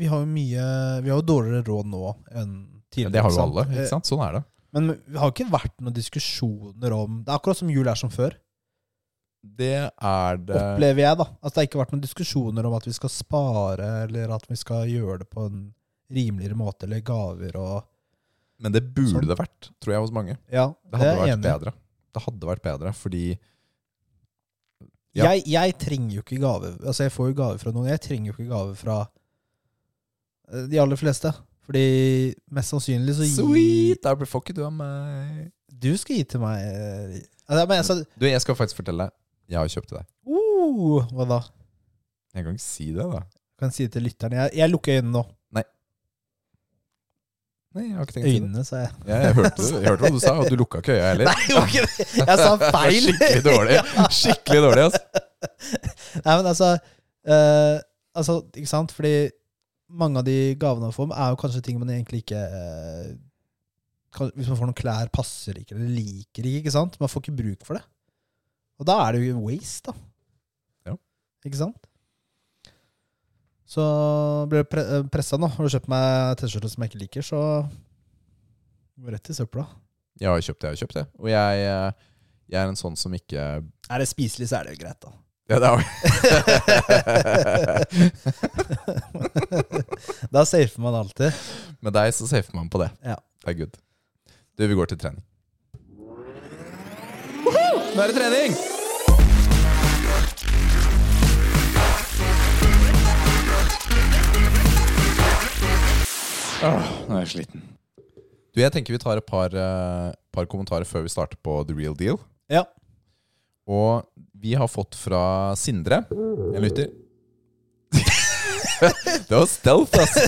[SPEAKER 1] Vi har jo mye, vi har jo dårligere råd nå enn
[SPEAKER 2] Men
[SPEAKER 1] tidligere.
[SPEAKER 2] det
[SPEAKER 1] ikke
[SPEAKER 2] har jo
[SPEAKER 1] sant?
[SPEAKER 2] alle. ikke sant? Sånn er det.
[SPEAKER 1] Eh, Men vi har ikke vært noen diskusjoner om Det er akkurat som jul er som før.
[SPEAKER 2] Det er det
[SPEAKER 1] opplever jeg, da. At det har ikke vært noen diskusjoner om at vi skal spare, eller at vi skal gjøre det på en rimeligere måte, eller gaver og
[SPEAKER 2] Men det burde
[SPEAKER 1] Sånn.
[SPEAKER 2] det vært, tror jeg, hos mange.
[SPEAKER 1] Ja, det
[SPEAKER 2] Det hadde
[SPEAKER 1] er jeg
[SPEAKER 2] vært
[SPEAKER 1] enig i.
[SPEAKER 2] bedre. Det hadde vært bedre, fordi ja.
[SPEAKER 1] Jeg, jeg trenger jo ikke gave Altså, jeg får jo gave fra noen. Jeg trenger jo ikke gave fra eh, de aller fleste. Fordi mest sannsynlig så gir
[SPEAKER 2] Sweet! Der blir- får ikke du av meg.
[SPEAKER 1] Du skal gi til meg eh, altså, Men altså
[SPEAKER 2] Du, jeg skal faktisk fortelle deg. Jeg har kjøpt til deg.
[SPEAKER 1] uh, Hva da?
[SPEAKER 2] Jeg kan ikke si det, da.
[SPEAKER 1] Kan jeg si det til lytterne. Jeg, jeg lukker øynene nå.
[SPEAKER 2] Nei, jeg har ikke tenkt å si det.
[SPEAKER 1] Øynene, sa jeg.
[SPEAKER 2] Ja, jeg, hørte, jeg hørte hva du sa, og du lukka ikke øya heller.
[SPEAKER 1] Nei, det var ikke det. Jeg sa feil!
[SPEAKER 2] Det var Skikkelig dårlig. Skikkelig dårlig ass.
[SPEAKER 1] Nei, men altså, eh, altså Ikke sant? Fordi mange av de gavene man får, er jo kanskje ting man egentlig ikke eh, kan, Hvis man får noen klær, passer ikke eller liker ikke. ikke sant? Man får ikke bruk for det. Og da er det jo waste, da.
[SPEAKER 2] Ja.
[SPEAKER 1] Ikke sant? Så blir jeg pre pressa nå. Har du kjøpt meg T-skjorte som jeg ikke liker, så går rett i søpla.
[SPEAKER 2] Jeg har kjøpt det, jeg har kjøpt det. Og jeg, eh, jeg er en sånn som ikke Ja,
[SPEAKER 1] Er det spiselig, så er det jo greit, da.
[SPEAKER 2] det er
[SPEAKER 1] da safer man alltid.
[SPEAKER 2] Med deg så safer man på det.
[SPEAKER 1] Ja.
[SPEAKER 2] Det er good. Du, vi går til trening. Nå er det trening! Åh, nå er jeg sliten. Du, jeg tenker vi tar et par, eh, par kommentarer før vi starter på The Real Deal.
[SPEAKER 1] Ja.
[SPEAKER 2] Og vi har fått fra Sindre, en lytter. det var stealth, altså.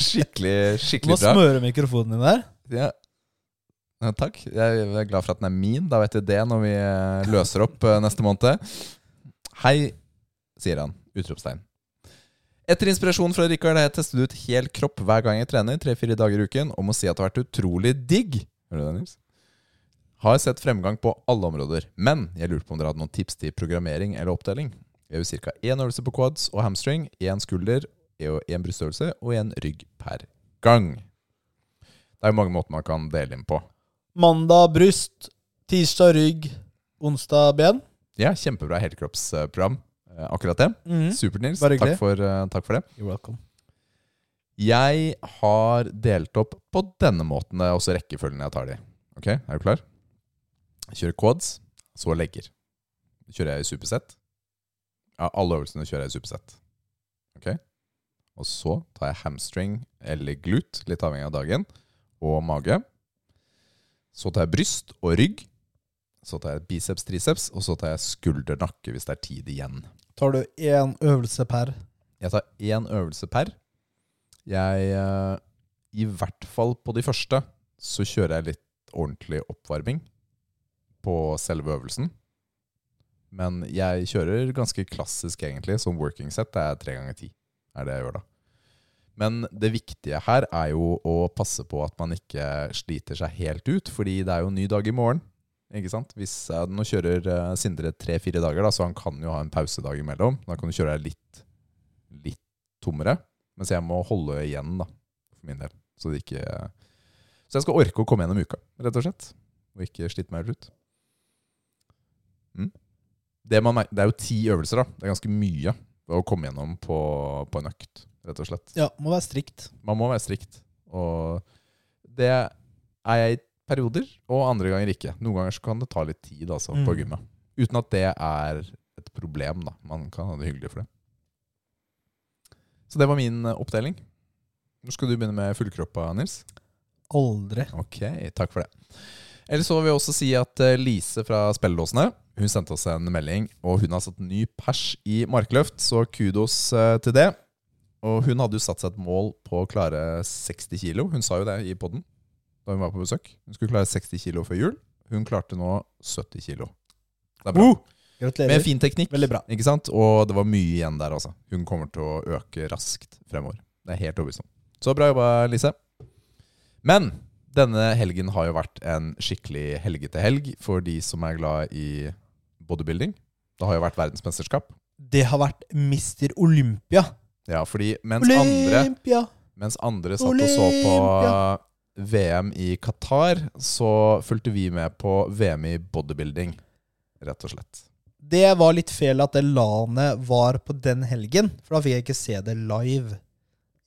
[SPEAKER 2] Skikkelig,
[SPEAKER 1] Du må
[SPEAKER 2] skikkelig bra.
[SPEAKER 1] smøre mikrofonen din der.
[SPEAKER 2] Ja. Ja, takk. Jeg er glad for at den er min. Da vet vi det når vi eh, løser opp eh, neste måned. Hei, sier han. Utropstegn. Etter inspirasjon fra Rikard har jeg testet ut hel kropp hver gang jeg trener, tre-fire dager i uken, og må si at det har vært utrolig digg. Hører du det, Nils? Har sett fremgang på alle områder, men jeg lurte på om dere hadde noen tips til programmering eller oppdeling. Vi har jo ca. én øvelse på quads og hamstring, én skulder, én brystøvelse og én rygg per gang. Det er jo mange måter man kan dele inn på.
[SPEAKER 1] Mandag bryst, tirsdag rygg, onsdag ben.
[SPEAKER 2] Ja, kjempebra helkroppsprogram. eh, Akkurat det.
[SPEAKER 1] Mhm.
[SPEAKER 2] Supert, Nils.
[SPEAKER 1] Mm. Bare
[SPEAKER 2] Takk
[SPEAKER 1] hyggelig.
[SPEAKER 2] for, eh, takk for det.
[SPEAKER 1] You're welcome.
[SPEAKER 2] Jeg har delt opp på denne måten, det er også rekkefølgen jeg tar de. Ok, er du klar? Jeg Kjører quads, så legger. Kjører jeg i supersett. Ja, alle øvelsene kjører jeg i supersett. Ok? Og så tar jeg hamstring eller glut, litt avhengig av dagen, og mage. Så tar jeg bryst og rygg. Så tar jeg biceps, triceps, og så tar jeg skulder, nakke hvis det er tid igjen.
[SPEAKER 1] Tar du én øvelse per?
[SPEAKER 2] Jeg tar én øvelse per. Jeg eh, I hvert fall på de første så kjører jeg litt ordentlig oppvarming på selve øvelsen. Men jeg kjører ganske klassisk, egentlig, som working set. Det er tre ganger ti. er det jeg gjør da. Men det viktige her er jo å passe på at man ikke sliter seg helt ut, fordi det er jo en ny dag i morgen. Ikke sant? Hvis, eh, nå kjører eh, Sindre tre-fire dager, da, så han kan jo ha en pausedag imellom. Da kan du kjøre deg litt litt tommere. Mens jeg må holde igjen, da, for min del. Så det ikke Så jeg skal orke å komme gjennom uka, rett og slett. Og ikke slite meg helt ut. Mm. Det, man, mer- det er jo ti øvelser, da. Det er ganske mye å komme gjennom på, på en økt, rett og slett.
[SPEAKER 1] Ja, må være strikt.
[SPEAKER 2] Man må være strikt. Og det er jeg i perioder, og andre ganger ikke. Noen ganger så kan det ta litt tid altså, på
[SPEAKER 1] Mm.
[SPEAKER 2] gymmet. Uten at det er et problem, da. Man kan ha det hyggelig for det. Så det var min eh, oppdeling. Nå skal du begynne med fullkroppa, Nils.
[SPEAKER 1] Aldri.
[SPEAKER 2] Ok, takk for det. Eller så vil jeg også si at eh, Lise fra Spelledåsene hun sendte oss en melding, og hun har satt ny pers i markløft, så kudos eh, til det. Og hun hadde jo satt seg et mål på å klare 60 kilo. Hun sa jo det i podden da hun var på besøk. Hun skulle klare 60 kilo før jul. Hun klarte nå 70 kilo. Det er bra.
[SPEAKER 1] Uh!
[SPEAKER 2] Med
[SPEAKER 1] Gratulerer.
[SPEAKER 2] fin teknikk.
[SPEAKER 1] Veldig bra.
[SPEAKER 2] Ikke sant? Og det var mye igjen der, altså. Hun kommer til å øke raskt fremover. Det er jeg helt overbevist om. Så bra jobba, Lise. Men denne helgen har jo vært en skikkelig helgete helg for de som er glad i bodybuilding. Det har jo vært verdensmesterskap.
[SPEAKER 1] Det har vært Mister Olympia.
[SPEAKER 2] Ja, fordi mens andre
[SPEAKER 1] Olympia!
[SPEAKER 2] mens andre satt og så
[SPEAKER 1] Olympia!
[SPEAKER 2] på VM i Qatar, så fulgte vi med på VM i bodybuilding, rett og slett.
[SPEAKER 1] Det var litt fel at det LAN-et var på den helgen, for da fikk jeg ikke se det live.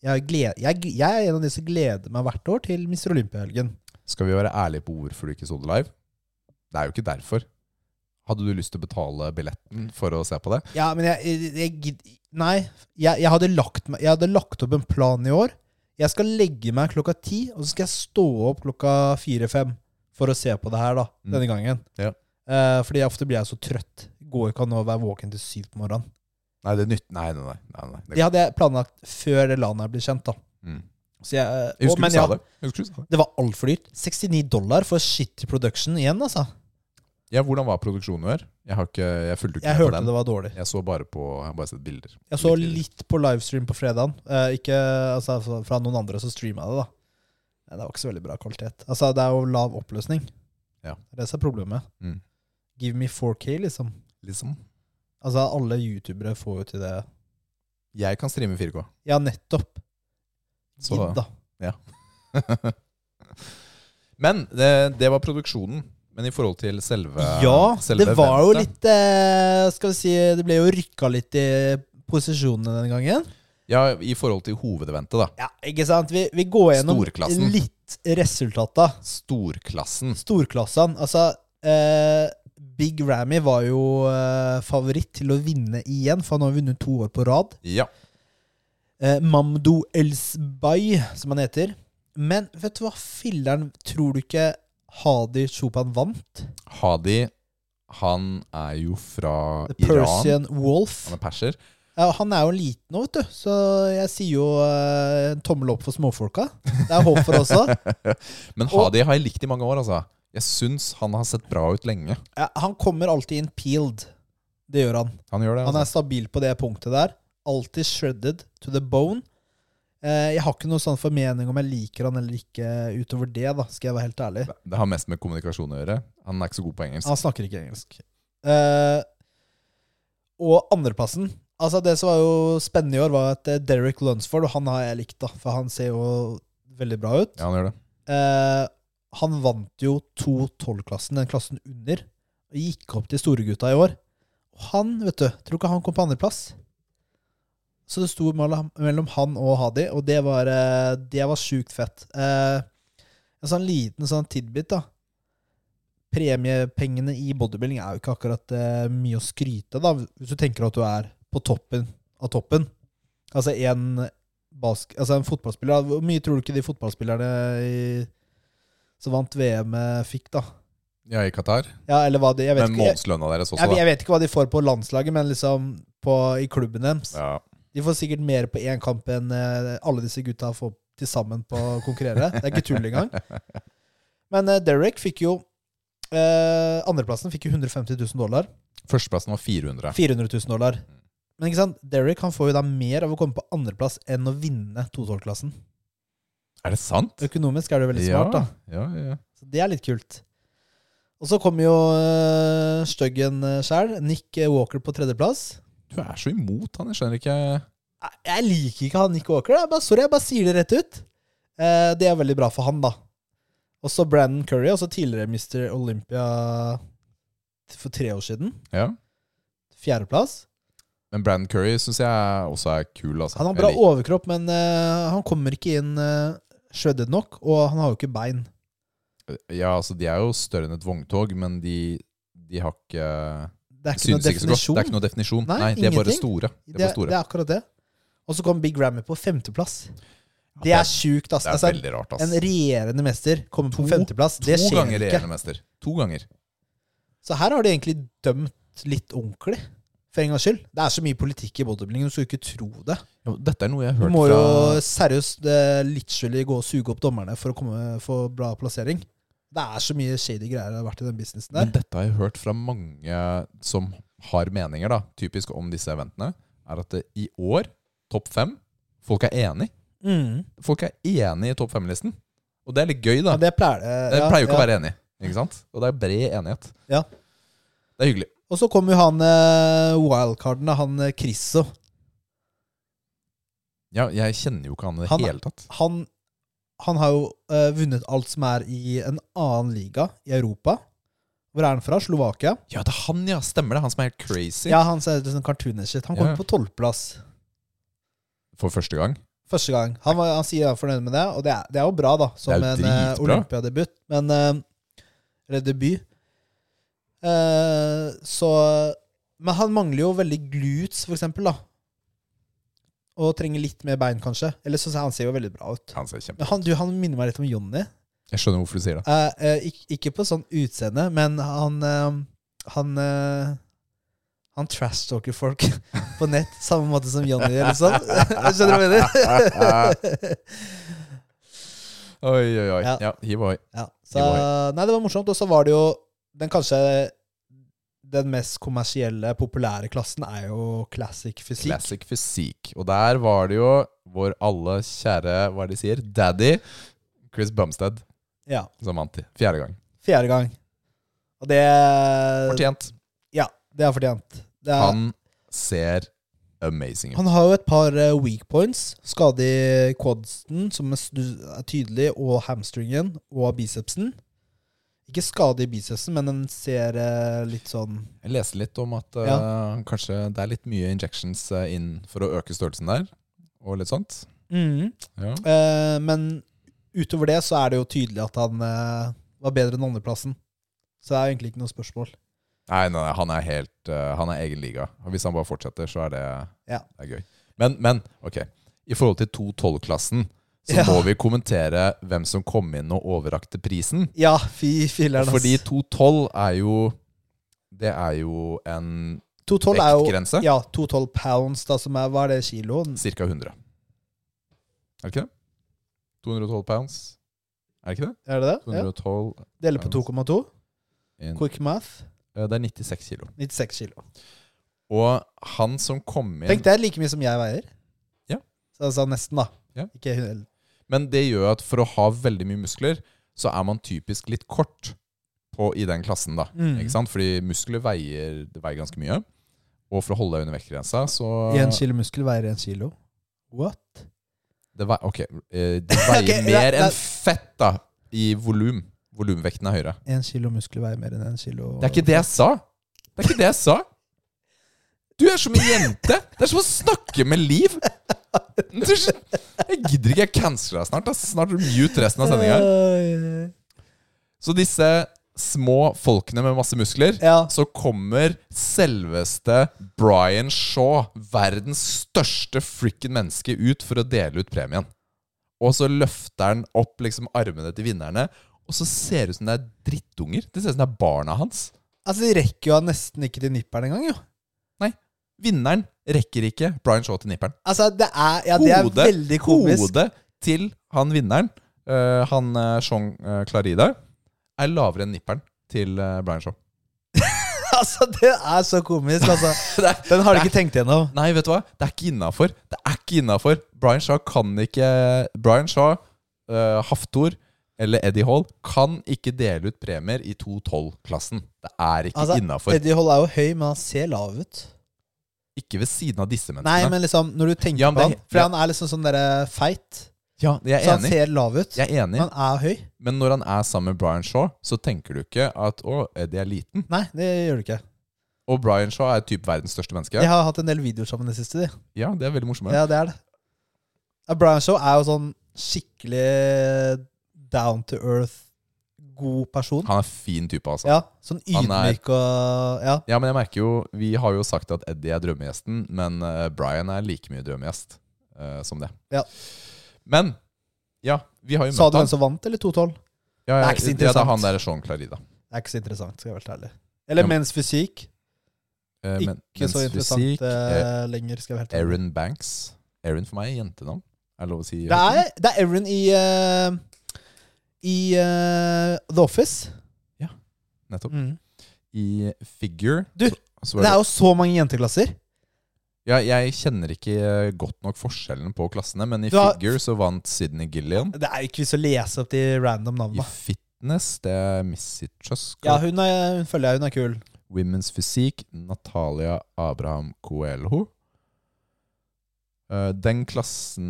[SPEAKER 1] Jeg, gled, jeg, jeg er en av de som gleder meg hvert år til Mister Olympia-helgen.
[SPEAKER 2] Skal vi være ærlige på hvorfor du ikke så det live? Det er jo ikke derfor. Hadde du lyst til å betale billetten for å se på det?
[SPEAKER 1] Ja, men jeg, jeg, jeg gidd- Nei. Jeg, jeg, hadde lagt meg, jeg hadde lagt opp en plan i år. Jeg skal legge meg klokka ti, og så skal jeg stå opp klokka fire-fem for å se på det her, da.
[SPEAKER 2] Mm.
[SPEAKER 1] Denne gangen.
[SPEAKER 2] Ja.
[SPEAKER 1] Eh, fordi jeg ofte blir jeg så trøtt. Går ikke an å være våken til syv på morgenen.
[SPEAKER 2] Nei, det er nytt. Nei, nei, nei. nei, nei. Det,
[SPEAKER 1] Det hadde jeg planlagt før det landet her ble kjent, da.
[SPEAKER 2] mm.
[SPEAKER 1] Så jeg,
[SPEAKER 2] Jeg
[SPEAKER 1] og-
[SPEAKER 2] husker
[SPEAKER 1] men
[SPEAKER 2] du sa
[SPEAKER 1] ja,
[SPEAKER 2] det. Jeg husker du sa det.
[SPEAKER 1] det var altfor dyrt. 69 dollar for shitty production igjen, altså.
[SPEAKER 2] Ja, hvordan var produksjonen i år? Jeg, har ikke, jeg fulgte ikke
[SPEAKER 1] Jeg
[SPEAKER 2] med på
[SPEAKER 1] hørte
[SPEAKER 2] den.
[SPEAKER 1] det var dårlig.
[SPEAKER 2] Jeg så bare på Jeg har bare sett bilder.
[SPEAKER 1] Jeg så
[SPEAKER 2] Litt bilder.
[SPEAKER 1] litt på livestream på fredagen. Eh, ikke altså, fra- fra noen andre som streama det, da. Eh, Det var ikke så veldig bra kvalitet. Altså, det er jo lav oppløsning.
[SPEAKER 2] Ja.
[SPEAKER 1] Det er Det som er problemet.
[SPEAKER 2] Mm.
[SPEAKER 1] Give me 4K, liksom.
[SPEAKER 2] Liksom.
[SPEAKER 1] Altså, alle youtubere får jo til det.
[SPEAKER 2] Jeg kan streame 4K.
[SPEAKER 1] Ja, nettopp.
[SPEAKER 2] Så-
[SPEAKER 1] Gidd, da.
[SPEAKER 2] Men det, det var produksjonen. Men i forhold til selve
[SPEAKER 1] Ja,
[SPEAKER 2] selve
[SPEAKER 1] det var jo
[SPEAKER 2] eventet-
[SPEAKER 1] litt eh, Skal vi si Det ble jo rykka litt i posisjonene denne gangen.
[SPEAKER 2] Ja, i forhold til hovedeventet, da.
[SPEAKER 1] Ja, ikke sant? Vi, vi går gjennom
[SPEAKER 2] Storklassen.
[SPEAKER 1] litt resultata.
[SPEAKER 2] Storklassen.
[SPEAKER 1] Storklassene. Altså, eh, Big Rammy var jo eh, favoritt til å vinne igjen, for han har vunnet to år på rad.
[SPEAKER 2] Ja.
[SPEAKER 1] Eh, Mamdo Elsbay, som han heter. Men vet du hva, filleren, tror du ikke Hadi Chopan vant?
[SPEAKER 2] Hadi, han er jo fra
[SPEAKER 1] The
[SPEAKER 2] Iran.
[SPEAKER 1] Persian Wolf.
[SPEAKER 2] Han er perser.
[SPEAKER 1] Ja, han er jo liten nå, vet du, så jeg sier jo eh, en tommel opp for småfolka. Det er håp for oss også.
[SPEAKER 2] Men
[SPEAKER 1] Og-
[SPEAKER 2] Hadi har jeg likt i mange år, altså. Jeg syns han har sett bra ut lenge.
[SPEAKER 1] Ja, han kommer alltid inn peeled. Det gjør han.
[SPEAKER 2] Han gjør det.
[SPEAKER 1] Han er
[SPEAKER 2] Altså.
[SPEAKER 1] stabil på det punktet der. Alltid shredded to the bone. Eh, jeg har ikke noen sånn formening om jeg liker han eller ikke utover det, da, skal jeg være helt ærlig.
[SPEAKER 2] Det har mest med kommunikasjon å gjøre. Han er ikke så god på engelsk.
[SPEAKER 1] Han snakker ikke engelsk. Eh, og andreplassen Altså Det som var jo spennende i år, var at eh, Derek Lunsford, og han har jeg likt, da, for han ser jo veldig bra ut.
[SPEAKER 2] Ja, han gjør det.
[SPEAKER 1] Eh, han vant jo 2-12-klassen, den klassen under, og gikk opp til storegutta i år. Og han, vet du, tror ikke han kom på andreplass. Så det sto mellom mellom han og Hadi, og det var, eh, det var sjukt fett. Eh, en sånn liten sånn tidbit, da. Premiepengene i bodybuilding er jo ikke akkurat eh, mye å skryte, da, hvis du tenker at du er på toppen av toppen. Altså en bask, altså en fotballspiller Hvor mye tror du ikke de fotballspillerne i, som vant VM, eh, fikk, da?
[SPEAKER 2] Ja, i Qatar.
[SPEAKER 1] Ja, eller hva de Jeg vet,
[SPEAKER 2] Men
[SPEAKER 1] ikke, jeg,
[SPEAKER 2] månedslønna deres også,
[SPEAKER 1] jeg,
[SPEAKER 2] da.
[SPEAKER 1] jeg vet ikke hva de får på landslaget, men liksom på, i klubben deres.
[SPEAKER 2] Ja.
[SPEAKER 1] De får sikkert mer på én kamp enn eh, alle disse gutta får til sammen på å konkurrere. Det er ikke tull engang. Men eh, Derek fikk jo eh, Andreplassen fikk jo 150 000 dollar.
[SPEAKER 2] Førsteplassen var 400.
[SPEAKER 1] 400 000 dollar. Men ikke sant? Derek han får jo da mer av å komme på andreplass enn å vinne 212-klassen.
[SPEAKER 2] Er det sant?
[SPEAKER 1] Økonomisk er det jo veldig smart, da.
[SPEAKER 2] Ja, ja, ja.
[SPEAKER 1] Så det er litt kult. Og så kommer jo uh, styggen sjæl, Nick eh, Walker på tredjeplass.
[SPEAKER 2] Du er så imot han, jeg skjønner ikke
[SPEAKER 1] Nei, Jeg liker ikke han Nick Walker. Jeg bare, sorry, jeg bare sier det rett ut. Eh, det er veldig bra for han, da. Og så Brandon Curry, også tidligere Mr. Olympia for tre år siden.
[SPEAKER 2] ja.
[SPEAKER 1] Fjerdeplass.
[SPEAKER 2] Men Brandon Curry syns jeg også er kul. Altså.
[SPEAKER 1] Han har
[SPEAKER 2] Jeg
[SPEAKER 1] bra
[SPEAKER 2] liker-
[SPEAKER 1] overkropp, men eh, han kommer ikke inn uh, shredded nok, og han har jo ikke bein.
[SPEAKER 2] Ja, altså De er jo større enn et vogntog, men de, de har
[SPEAKER 1] Det
[SPEAKER 2] ikke
[SPEAKER 1] er ikke noen
[SPEAKER 2] Synes ikke
[SPEAKER 1] definisjon.
[SPEAKER 2] så godt. Det er ikke noe definisjon.
[SPEAKER 1] Nei,
[SPEAKER 2] Nei, de er bare
[SPEAKER 1] ingenting.
[SPEAKER 2] store. De er
[SPEAKER 1] det,
[SPEAKER 2] bare
[SPEAKER 1] er,
[SPEAKER 2] store.
[SPEAKER 1] det er akkurat det. Og så kom Big Rammy på femteplass.
[SPEAKER 2] Ja,
[SPEAKER 1] Det er sjukt, ass.
[SPEAKER 2] det er
[SPEAKER 1] Altså,
[SPEAKER 2] veldig rart,
[SPEAKER 1] en
[SPEAKER 2] ass.
[SPEAKER 1] regjerende mester kommer på
[SPEAKER 2] To-
[SPEAKER 1] femteplass. Det
[SPEAKER 2] to
[SPEAKER 1] skjer
[SPEAKER 2] ganger
[SPEAKER 1] ikke.
[SPEAKER 2] regjerende mester. To ganger.
[SPEAKER 1] Så her har de egentlig dømt litt ordentlig. For en gangs skyld. Det er så mye politikk i bodybuilding, du skulle ikke tro det.
[SPEAKER 2] Ja, men dette er noe jeg
[SPEAKER 1] Du
[SPEAKER 2] har hørt
[SPEAKER 1] må
[SPEAKER 2] fra
[SPEAKER 1] jo seriøst eh, litt skyldig gå og suge opp dommerne for å komme, få bra plassering. Det er så mye shady greier det har vært i den businessen
[SPEAKER 2] Men
[SPEAKER 1] der.
[SPEAKER 2] dette har jeg hørt fra mange som har meninger, da, typisk om disse eventene, er at det, i år, topp fem, folk er enig.
[SPEAKER 1] Mm.
[SPEAKER 2] Folk er enig i topp fem-listen. Og det er litt gøy, da.
[SPEAKER 1] Ja, det pleier det.
[SPEAKER 2] Jeg
[SPEAKER 1] ja,
[SPEAKER 2] pleier jo ikke
[SPEAKER 1] ja.
[SPEAKER 2] å være enig. Ikke sant? Og det er bred enighet.
[SPEAKER 1] Ja.
[SPEAKER 2] Det er hyggelig.
[SPEAKER 1] Og så kom jo han eh, wildcarden, da, han eh, Chriso.
[SPEAKER 2] Ja, jeg kjenner jo ikke han i det
[SPEAKER 1] Han er-
[SPEAKER 2] hele tatt.
[SPEAKER 1] han, han har jo eh, vunnet alt som er i en annen liga i Europa. Hvor er han fra? Slovakia?
[SPEAKER 2] Ja, det er han, ja. Stemmer det. Han som er helt crazy.
[SPEAKER 1] Ja, han ser ut som cartooner shit. Han kom
[SPEAKER 2] Ja.
[SPEAKER 1] på tolvplass
[SPEAKER 2] For første gang.
[SPEAKER 1] første gang. Han, var, han sier han er fornøyd med det, og det er, det er jo bra, da. Som
[SPEAKER 2] Det er
[SPEAKER 1] en
[SPEAKER 2] jo
[SPEAKER 1] eh,
[SPEAKER 2] dritbra.
[SPEAKER 1] olympiadebut. Men eh, Eller debut. Eh, så Men han mangler jo veldig glutes, for eksempel, da. Og trenger litt mer bein, kanskje. Eller så han ser jo veldig bra ut.
[SPEAKER 2] Han ser kjempe
[SPEAKER 1] Men han, du, han minner meg litt om Jonny.
[SPEAKER 2] Jeg skjønner hvorfor du sier det.
[SPEAKER 1] Eh, eh, ikk- ikke på sånn utseende, men han eh, Han eh, Han trash-talker folk på nett, samme måte som Johnny gjør, liksom. Skjønner du hva jeg mener?
[SPEAKER 2] Oi, oi, oi.
[SPEAKER 1] Ja.
[SPEAKER 2] Ja, hiv ohoi.
[SPEAKER 1] ja, så, nei, det var morsomt. Og så var det jo den kanskje den mest kommersielle, populære klassen er jo classic fysikk.
[SPEAKER 2] Classic fysikk. Og der var det jo vår alle kjære, hva er det de sier, daddy Chris Bumstead
[SPEAKER 1] Ja.
[SPEAKER 2] som vant. i Fjerde gang.
[SPEAKER 1] Fjerde gang. Og det Eh,
[SPEAKER 2] Fortjent.
[SPEAKER 1] Ja, det er fortjent. Det er,
[SPEAKER 2] Han ser amazing ut.
[SPEAKER 1] Han har jo et par eh, weak points. Skade i quadsen, som er snu- er tydelig, og hamstringen og bicepsen. Ikke skade i bicepsen, men den ser eh, litt sånn
[SPEAKER 2] Jeg leste litt om at eh, kanskje det er litt mye injections eh, inn for å øke størrelsen der, og litt sånt. Ja.
[SPEAKER 1] Eh, Men utover det så er det jo tydelig at han eh, var bedre enn andreplassen. Så det er egentlig ikke noe spørsmål.
[SPEAKER 2] Nei, nei, nei, han er helt eh, Han er egen liga. Og Hvis han bare fortsetter, så er det,
[SPEAKER 1] Ja.
[SPEAKER 2] det er gøy. Men, men ok. I forhold til 212-klassen, så
[SPEAKER 1] Ja.
[SPEAKER 2] må vi kommentere hvem som kom inn og overrakte prisen.
[SPEAKER 1] Ja, fy filler'n, ass.
[SPEAKER 2] Fordi 212 er jo Det er jo en
[SPEAKER 1] 212 er jo
[SPEAKER 2] vektgrense.
[SPEAKER 1] Ja, 212 pounds, da, som er Hva er det, kilo?
[SPEAKER 2] Cirka 100. Er det ikke det? 212 pounds. Er det ikke det?
[SPEAKER 1] Er det det? Ja.
[SPEAKER 2] 212
[SPEAKER 1] Deler på 2,2.
[SPEAKER 2] inn-
[SPEAKER 1] Quick math.
[SPEAKER 2] Eh, Det er 96 kilo.
[SPEAKER 1] 96 kilo.
[SPEAKER 2] Og han som kom inn
[SPEAKER 1] Tenk, det er like mye som jeg veier.
[SPEAKER 2] Ja.
[SPEAKER 1] Så altså nesten, da.
[SPEAKER 2] Ja.
[SPEAKER 1] Ikke helt.
[SPEAKER 2] Men det gjør at for å ha veldig mye muskler, så er man typisk litt kort på, i den klassen. da.
[SPEAKER 1] Mm.
[SPEAKER 2] Ikke sant? Fordi muskler veier, det veier ganske mye. Og for å holde deg under vektgrensa, så
[SPEAKER 1] Én kilo muskel veier én kilo. What?
[SPEAKER 2] det vei, Ok, eh, det veier
[SPEAKER 1] Ok,
[SPEAKER 2] mer
[SPEAKER 1] det- det-
[SPEAKER 2] enn fett da, i volum. Volumvekten er høyere.
[SPEAKER 1] Én kilo muskler veier mer enn én kilo
[SPEAKER 2] Det er ikke det jeg sa! Det er ikke det jeg sa! Du er som en jente! Det er som å snakke med Liv! Du, jeg gidder ikke. Jeg canceler deg snart. ass. Snart er du mute resten av sendinga. Så disse små folkene med masse muskler
[SPEAKER 1] Ja.
[SPEAKER 2] Så kommer selveste Brian Shaw, verdens største frikken menneske, ut for å dele ut premien. Og så løfter han opp liksom armene til vinnerne, og Og så ser det ut som det er drittunger. Det ser ut som det er barna hans.
[SPEAKER 1] Altså, de rekker jo nesten ikke til nipperen engang, jo.
[SPEAKER 2] Vinneren rekker ikke Brian Shaw til nipperen.
[SPEAKER 1] Altså, det er, ja, det er
[SPEAKER 2] Hodet-
[SPEAKER 1] veldig komisk.
[SPEAKER 2] Hodet til han vinneren, eh, han eh, Sean eh, Clarida, er lavere enn nipperen til eh, Brian Shaw.
[SPEAKER 1] Altså, det er så komisk, altså.
[SPEAKER 2] Det er-
[SPEAKER 1] Den har du ikke tenkt gjennom.
[SPEAKER 2] Nei, vet du hva? Det er ikke innafor. Det er ikke innafor. Brian Shaw kan ikke Brian Shaw, eh, Haftor eller Eddie Hall kan ikke dele ut premier i 212-klassen. Det er ikke
[SPEAKER 1] Altså,
[SPEAKER 2] innafor.
[SPEAKER 1] Eddie Hall er jo høy, men han ser lav ut.
[SPEAKER 2] Ikke ved siden av disse menneskene.
[SPEAKER 1] Nei, men liksom, når du tenker
[SPEAKER 2] Ja, men
[SPEAKER 1] på han
[SPEAKER 2] det-
[SPEAKER 1] For
[SPEAKER 2] ja.
[SPEAKER 1] han er liksom sånn derre feit.
[SPEAKER 2] ja, jeg
[SPEAKER 1] Så
[SPEAKER 2] er
[SPEAKER 1] han
[SPEAKER 2] enig.
[SPEAKER 1] ser lav ut.
[SPEAKER 2] Jeg er
[SPEAKER 1] Men
[SPEAKER 2] enig.
[SPEAKER 1] han er høy.
[SPEAKER 2] Men når han er sammen med Brian Shaw, så tenker du ikke at å, Eddie er liten.
[SPEAKER 1] Nei, det gjør du ikke.
[SPEAKER 2] Og Brian Shaw er typ verdens største menneske.
[SPEAKER 1] De
[SPEAKER 2] Ja,
[SPEAKER 1] har hatt en del videoer sammen i det siste, de.
[SPEAKER 2] det er veldig morsomt.
[SPEAKER 1] Ja, det er det. Ja, Brian Shaw er jo sånn skikkelig down to earth, god person.
[SPEAKER 2] Han er fin type, altså.
[SPEAKER 1] Ja, sånn
[SPEAKER 2] Han er-
[SPEAKER 1] ydmyk og Ja.
[SPEAKER 2] Ja, men jeg merker jo Vi har jo sagt at Eddie er drømmegjesten, men eh, Brian er like mye drømmegjest eh, som det.
[SPEAKER 1] Ja.
[SPEAKER 2] Men ja, vi har jo
[SPEAKER 1] Sa
[SPEAKER 2] møtt
[SPEAKER 1] du hvem
[SPEAKER 2] han.
[SPEAKER 1] som vant, eller 2-12?
[SPEAKER 2] Ja,
[SPEAKER 1] Det
[SPEAKER 2] ja,
[SPEAKER 1] er ikke så
[SPEAKER 2] ja, det
[SPEAKER 1] interessant.
[SPEAKER 2] er han der Sean Clarida.
[SPEAKER 1] Det er ikke så interessant, skal jeg være helt ærlig. Eller
[SPEAKER 2] Ja, men-
[SPEAKER 1] mens fysikk.
[SPEAKER 2] Eh,
[SPEAKER 1] Ikke
[SPEAKER 2] men- mens
[SPEAKER 1] så interessant
[SPEAKER 2] fysikk, eh,
[SPEAKER 1] eh, lenger, skal jeg være helt ærlig.
[SPEAKER 2] Erin Banks. Erin for meg er jentenavn. Er det lov å si?
[SPEAKER 1] Det er, det er Erin i eh, I eh, The Office.
[SPEAKER 2] Nettopp. I Figure
[SPEAKER 1] Du,
[SPEAKER 2] så, så
[SPEAKER 1] Det er jo så mange jenteklasser.
[SPEAKER 2] ja, Jeg kjenner ikke eh, godt nok forskjellen på klassene, men i
[SPEAKER 1] Du har-
[SPEAKER 2] Figure så vant Sydney Gillian.
[SPEAKER 1] Det er jo ikke vits å lese opp de random
[SPEAKER 2] I
[SPEAKER 1] navnene.
[SPEAKER 2] Fitness det er Missy Chuska.
[SPEAKER 1] Ja, hun, er, hun føler jeg hun er kul.
[SPEAKER 2] Women's Fysikk, Natalia Abraham Coelho. Eh, den klassen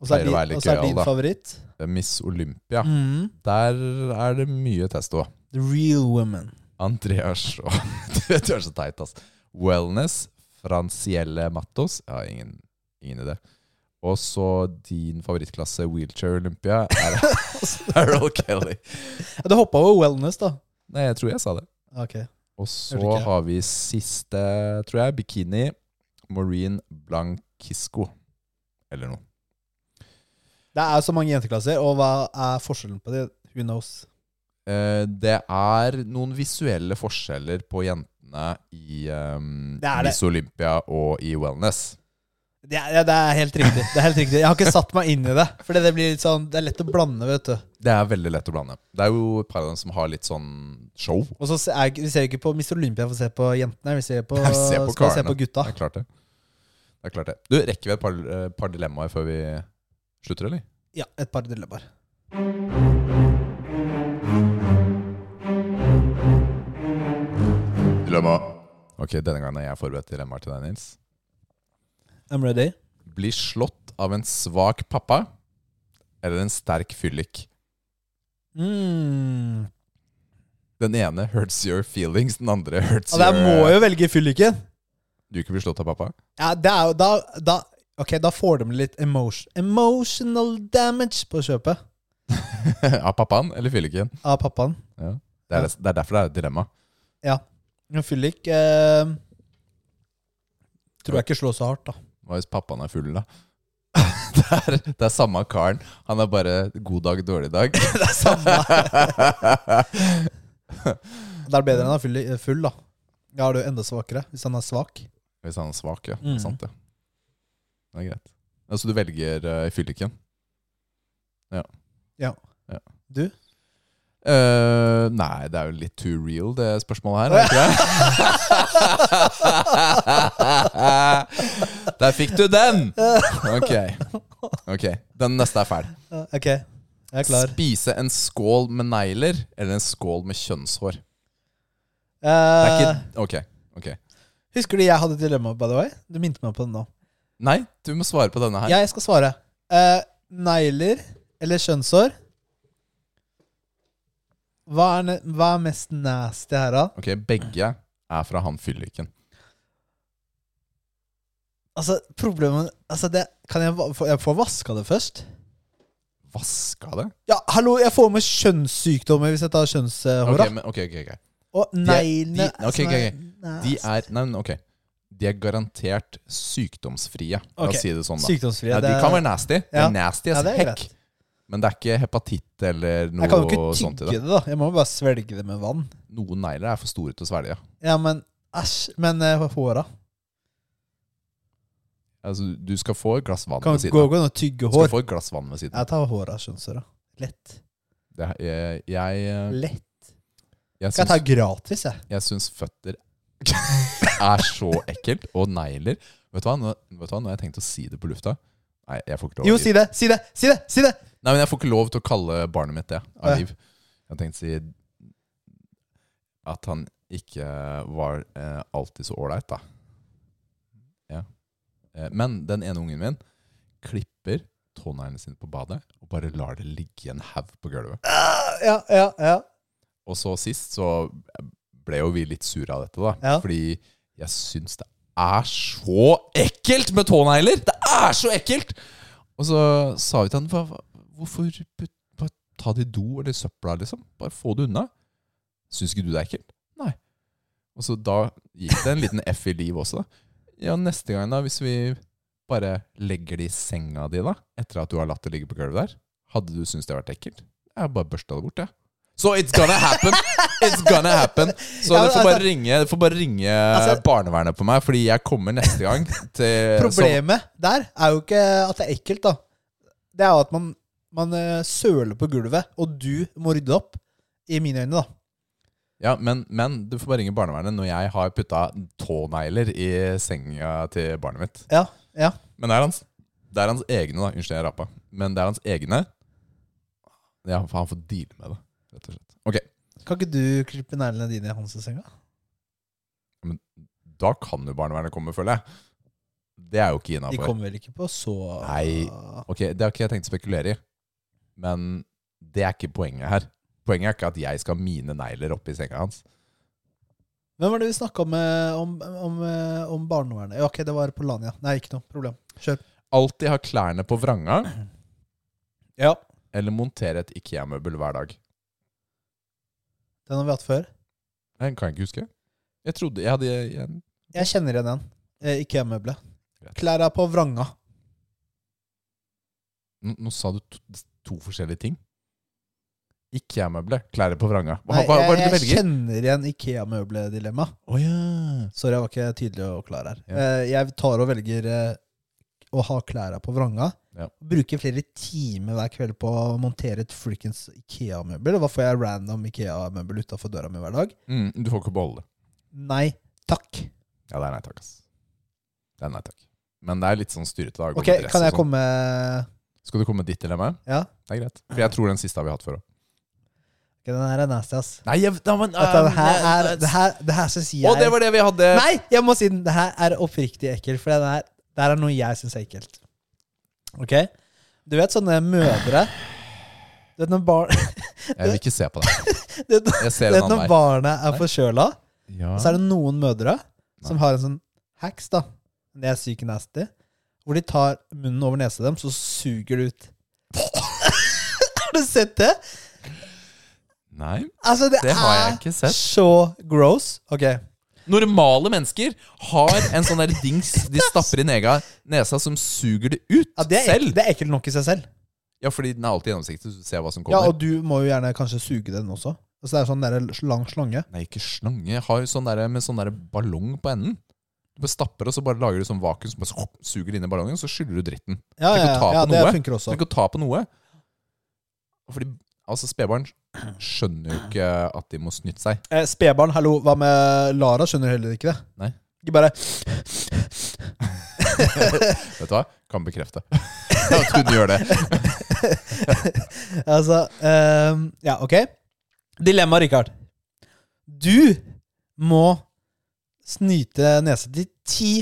[SPEAKER 1] Og så er,
[SPEAKER 2] pleier å være
[SPEAKER 1] din- og
[SPEAKER 2] litt
[SPEAKER 1] så er
[SPEAKER 2] gøyal,
[SPEAKER 1] din
[SPEAKER 2] da.
[SPEAKER 1] favoritt
[SPEAKER 2] Miss Olympia.
[SPEAKER 1] mm.
[SPEAKER 2] Der er det mye testo.
[SPEAKER 1] The Real Women.
[SPEAKER 2] Andreas og Du vet du er så teit, ass. Wellness, Francielle Mattos. Ja, ingen, ingen idé. Og så din favorittklasse, Wheelchair Olympia, er Errol Kelly.
[SPEAKER 1] Ja, du hoppa over wellness, da.
[SPEAKER 2] Nei, jeg tror jeg sa det.
[SPEAKER 1] Ok.
[SPEAKER 2] Og
[SPEAKER 1] Hørte ikke
[SPEAKER 2] så
[SPEAKER 1] jeg.
[SPEAKER 2] har vi siste, tror jeg, bikini. Maureen Blankisco. Eller noe.
[SPEAKER 1] Det er så mange jenteklasser, og hva er forskjellen på det? Who knows?
[SPEAKER 2] Eh, det er noen visuelle forskjeller på jentene i um,
[SPEAKER 1] Det er det.
[SPEAKER 2] Miss Olympia og i Wellness.
[SPEAKER 1] Det er, ja, det er helt riktig. Det er helt riktig. Jeg har ikke satt meg inn i det. For det blir litt sånn, det er lett å blande, vet du.
[SPEAKER 2] Det er veldig lett å blande. Det er jo et par av dem som har litt sånn show.
[SPEAKER 1] Og så se- er, Vi ser jo ikke på Miss Olympia for å se på jentene. Vi ser på,
[SPEAKER 2] Nei, vi ser på
[SPEAKER 1] skal se
[SPEAKER 2] karene.
[SPEAKER 1] på gutta.
[SPEAKER 2] Det er klart det. det, er klart det. Du, rekker vi et par, eh, par dilemmaer før vi slutter, eller?
[SPEAKER 1] Ja, et par dilemmaer.
[SPEAKER 2] Dilemma. Ok, denne gangen har jeg forberedt dilemmaer til deg, Nils.
[SPEAKER 1] I'm ready.
[SPEAKER 2] Bli slått av en svak pappa eller en sterk fyllik?
[SPEAKER 1] Mm.
[SPEAKER 2] Den ene hurts your feelings, den andre hurts
[SPEAKER 1] Ja, der
[SPEAKER 2] your
[SPEAKER 1] må jo velge fylliken.
[SPEAKER 2] Du ikke blir slått av pappa?
[SPEAKER 1] Ja, det er jo da, da Ok, da får de litt emotion, emotional damage på kjøpet
[SPEAKER 2] av pappaen eller fylliken?
[SPEAKER 1] av pappaen.
[SPEAKER 2] Det
[SPEAKER 1] Ja.
[SPEAKER 2] er, det er derfor det er et dilemma.
[SPEAKER 1] En fyllik eh, tror jeg ikke slår så hardt, da.
[SPEAKER 2] Hva hvis pappaen er full, da? det, er, det er samme karen. Han er bare god dag, dårlig dag.
[SPEAKER 1] Det er samme. Det er bedre enn å være full, full, da. Da er du enda svakere, hvis han er svak.
[SPEAKER 2] hvis han er svak, ja.
[SPEAKER 1] Mm.
[SPEAKER 2] Sant, det. Det er greit. Altså, du velger eh, fylliken?
[SPEAKER 1] Du?
[SPEAKER 2] Eh, nei, det er jo litt too real, det spørsmålet her. Er det ikke det? Der fikk du den! Ok. Ok, Den neste er fæl.
[SPEAKER 1] Ja, Eh, Ok, jeg er klar.
[SPEAKER 2] Spise en skål med negler eller en skål med kjønnshår? Det er
[SPEAKER 1] Eh,
[SPEAKER 2] ikke Ok. ok
[SPEAKER 1] husker du jeg hadde et dilemma, by the way? Du minte meg på det nå.
[SPEAKER 2] Nei, du må svare på denne her.
[SPEAKER 1] Jeg skal svare. Eh, negler eller kjønnshår? Hva er, ne- hva er mest nasty her, da?
[SPEAKER 2] Ok, Begge er fra han fylliken.
[SPEAKER 1] Altså, problemet altså det, Kan jeg, va- få- jeg få vaska det først?
[SPEAKER 2] Vaska det?
[SPEAKER 1] Ja, hallo, jeg får med kjønnssykdommer hvis jeg tar kjønnshåra.
[SPEAKER 2] Ok, men, ok, ok, ok
[SPEAKER 1] Og neglene altså,
[SPEAKER 2] de- ok,
[SPEAKER 1] som
[SPEAKER 2] ok,
[SPEAKER 1] er
[SPEAKER 2] De
[SPEAKER 1] nasty.
[SPEAKER 2] er sånn, Nei, men ok. De er garantert sykdomsfrie. La
[SPEAKER 1] Ok,
[SPEAKER 2] oss si det sånn, da.
[SPEAKER 1] Sykdomsfrie.
[SPEAKER 2] Ja,
[SPEAKER 1] det
[SPEAKER 2] de
[SPEAKER 1] er-
[SPEAKER 2] kan være nasty. De
[SPEAKER 1] Ja.
[SPEAKER 2] er nasty
[SPEAKER 1] Ja,
[SPEAKER 2] as
[SPEAKER 1] det er
[SPEAKER 2] heck.
[SPEAKER 1] greit.
[SPEAKER 2] Men det er ikke hepatitt eller noe
[SPEAKER 1] Jeg kan jo ikke
[SPEAKER 2] sånt i
[SPEAKER 1] tygge
[SPEAKER 2] det.
[SPEAKER 1] det, da. Jeg må jo bare svelge det med vann.
[SPEAKER 2] Noen negler er for store til å svelge.
[SPEAKER 1] Ja, men æsj. Men eh, håra
[SPEAKER 2] Altså, du skal få et glass vann
[SPEAKER 1] Kan gå
[SPEAKER 2] ved siden av.
[SPEAKER 1] gå an å tygge
[SPEAKER 2] Du skal
[SPEAKER 1] hår.
[SPEAKER 2] få et glass vann ved siden av.
[SPEAKER 1] Jeg tar håra, skjønnsøra. Lett.
[SPEAKER 2] Det er- Jeg, jeg,
[SPEAKER 1] Lett.
[SPEAKER 2] jeg,
[SPEAKER 1] Skal jeg ta
[SPEAKER 2] syns-
[SPEAKER 1] gratis, jeg?
[SPEAKER 2] jeg syns føtter er så ekkelt. Og negler. Vet du hva, nå, vet du hva? nå har jeg tenkt å si det på lufta. Nei, jeg får ikke lov.
[SPEAKER 1] Jo, si det! Si det! Si det! si det
[SPEAKER 2] Nei, men jeg får ikke lov til å kalle barnet mitt det
[SPEAKER 1] Å, ja.
[SPEAKER 2] av liv. Jeg har tenkt å si at han ikke var eh, alltid så ålreit, da. Ja. Eh, men den ene ungen min klipper tåneglene sine på badet og bare lar det ligge en haug på gulvet.
[SPEAKER 1] Ah, Ja, ja, ja.
[SPEAKER 2] Og så sist så ble jo vi litt sure av dette, da.
[SPEAKER 1] Ja.
[SPEAKER 2] Fordi jeg syns det er så ekkelt med tånegler! Det er så ekkelt! Og så sa vi til han hva, hva- Hvorfor putt, bare ta det i do eller i søpla, liksom? Bare få det unna. Syns ikke du det er ekkelt? Nei. Og så da gikk det en liten F i liv også, da. Ja, neste gang, da, hvis vi bare legger det i senga di, da, etter at du har latt det ligge på gulvet der, hadde du syntes det hadde vært ekkelt? Jeg har bare børsta det bort, jeg. Så it's gonna happen! It's gonna happen. Så
[SPEAKER 1] Ja, men
[SPEAKER 2] du får bare
[SPEAKER 1] altså-
[SPEAKER 2] ringe, du får bare ringe
[SPEAKER 1] Altså-
[SPEAKER 2] barnevernet på meg, fordi jeg kommer neste gang til
[SPEAKER 1] Problemet der er jo ikke at det er ekkelt, da. Det er jo at man, man eh, søler på gulvet, og du må rydde opp. I mine øyne, da.
[SPEAKER 2] Ja, men, men du får bare ringe barnevernet når jeg har putta tånegler i senga til barnet mitt.
[SPEAKER 1] Ja, ja.
[SPEAKER 2] Men det er hans, det er hans egne, da. Unnskyld, jeg rapa. Men det er hans egne. Ja, for han får deale med det, rett og slett. Ok,
[SPEAKER 1] Kan ikke du klippe neglene dine i hans senga?
[SPEAKER 2] da kan jo barnevernet komme, føler jeg. Det er jo ikke
[SPEAKER 1] De
[SPEAKER 2] innafor.
[SPEAKER 1] kommer vel ikke på så
[SPEAKER 2] Nei. Ok, det har ikke jeg tenkt å spekulere i. Men det er ikke poenget her. Poenget er ikke at jeg skal ha mine negler oppi senga hans.
[SPEAKER 1] Hvem var det vi snakka om, eh, om, om, eh, om barnevernet? Ja, ok, det var på Lania. Nei, ikke noe problem. Kjør.
[SPEAKER 2] Alltid ha klærne på vranga,
[SPEAKER 1] Ja.
[SPEAKER 2] eller montere et IKEA-møbel hver dag.
[SPEAKER 1] Den har vi hatt før.
[SPEAKER 2] Jeg kan ikke huske. Jeg trodde jeg hadde jeg,
[SPEAKER 1] Jeg kjenner igjen den. Eh, IKEA-møbelet.
[SPEAKER 2] Greit.
[SPEAKER 1] Klær er på vranga.
[SPEAKER 2] Nå, nå sa du to, to forskjellige ting. IKEA-møbler. Klær på vranga. Hva,
[SPEAKER 1] Nei,
[SPEAKER 2] hva, hva er det
[SPEAKER 1] jeg,
[SPEAKER 2] du
[SPEAKER 1] jeg
[SPEAKER 2] velger?
[SPEAKER 1] kjenner igjen IKEA-møbledilemma.
[SPEAKER 2] Å ja.
[SPEAKER 1] Sorry, jeg var ikke tydelig og klar her.
[SPEAKER 2] Ja.
[SPEAKER 1] Eh, Jeg tar og velger eh, å ha klærne på vranga.
[SPEAKER 2] Ja.
[SPEAKER 1] Bruker flere timer hver kveld på å montere et flikens IKEA-møbel. Og Hva får jeg random IKEA-møbel utafor døra mi hver dag?
[SPEAKER 2] Mm, du får ikke beholde det.
[SPEAKER 1] Nei takk.
[SPEAKER 2] Ja, det er nei takk, ass. Det er nei takk. Men det er litt sånn styrete. da, å gå
[SPEAKER 1] Ok,
[SPEAKER 2] med dress
[SPEAKER 1] kan
[SPEAKER 2] og
[SPEAKER 1] jeg
[SPEAKER 2] sånn.
[SPEAKER 1] komme
[SPEAKER 2] Skal du komme med ditt dilemma?
[SPEAKER 1] Ja?
[SPEAKER 2] Det er greit. For jeg tror den siste har vi hatt før òg.
[SPEAKER 1] Ok, den her er nasty, ass.
[SPEAKER 2] Nei, jeg, da, men, eh,
[SPEAKER 1] At det her er Det her, det her syns jeg
[SPEAKER 2] Å, det var det vi hadde!
[SPEAKER 1] Nei, jeg må si den. Det her er oppriktig ekkelt, for det her, det her er noe jeg syns er ekkelt. Ok? Du vet sånne mødre Du vet når, bar,
[SPEAKER 2] Jeg vil ikke se på deg.
[SPEAKER 1] du vet,
[SPEAKER 2] Jeg
[SPEAKER 1] du
[SPEAKER 2] ser en
[SPEAKER 1] vet
[SPEAKER 2] annen
[SPEAKER 1] når
[SPEAKER 2] vei.
[SPEAKER 1] barnet er forkjøla,
[SPEAKER 2] Ja.
[SPEAKER 1] så er det noen mødre som har en sånn hacks, da. Det er sykt nasty. Hvor de tar munnen over nesa dem, så suger det ut. har du sett det?
[SPEAKER 2] Nei,
[SPEAKER 1] Altså, det,
[SPEAKER 2] det har jeg
[SPEAKER 1] er
[SPEAKER 2] ikke sett.
[SPEAKER 1] så gross. Ok.
[SPEAKER 2] Normale mennesker har en sånn der dings de stapper i nega, nesa, som suger det ut
[SPEAKER 1] Ja, det, er, ek-
[SPEAKER 2] selv.
[SPEAKER 1] det er ekkelt nok i seg selv.
[SPEAKER 2] Ja, fordi den er alltid gjennomsiktig, så du ser hva som
[SPEAKER 1] Ja,
[SPEAKER 2] kommer.
[SPEAKER 1] og du må jo gjerne kanskje suge den også. Altså, det er sånn der lang slange.
[SPEAKER 2] Nei, ikke slange. Jeg har sånn der, med sånn der ballong på enden. Du bare stapper, og så bare lager du sånn vakuum som bare hopp, suger inn i ballongen, og så skyller du dritten.
[SPEAKER 1] Ja,
[SPEAKER 2] Tenk å
[SPEAKER 1] ja, ja,
[SPEAKER 2] ta
[SPEAKER 1] ja
[SPEAKER 2] på
[SPEAKER 1] det
[SPEAKER 2] noe.
[SPEAKER 1] funker
[SPEAKER 2] Du
[SPEAKER 1] også.
[SPEAKER 2] kan ikke ta på noe. Fordi altså, spedbarn skjønner jo ikke at de må snytte seg.
[SPEAKER 1] Eh, Spedbarn, hallo, hva med Lara? Skjønner heller ikke det.
[SPEAKER 2] Nei.
[SPEAKER 1] Ikke bare
[SPEAKER 2] Vet du hva? Kan bekrefte at hun gjør det.
[SPEAKER 1] Altså ehm, Ja, ok. Dilemma, Richard. Du må snyte nesa til ti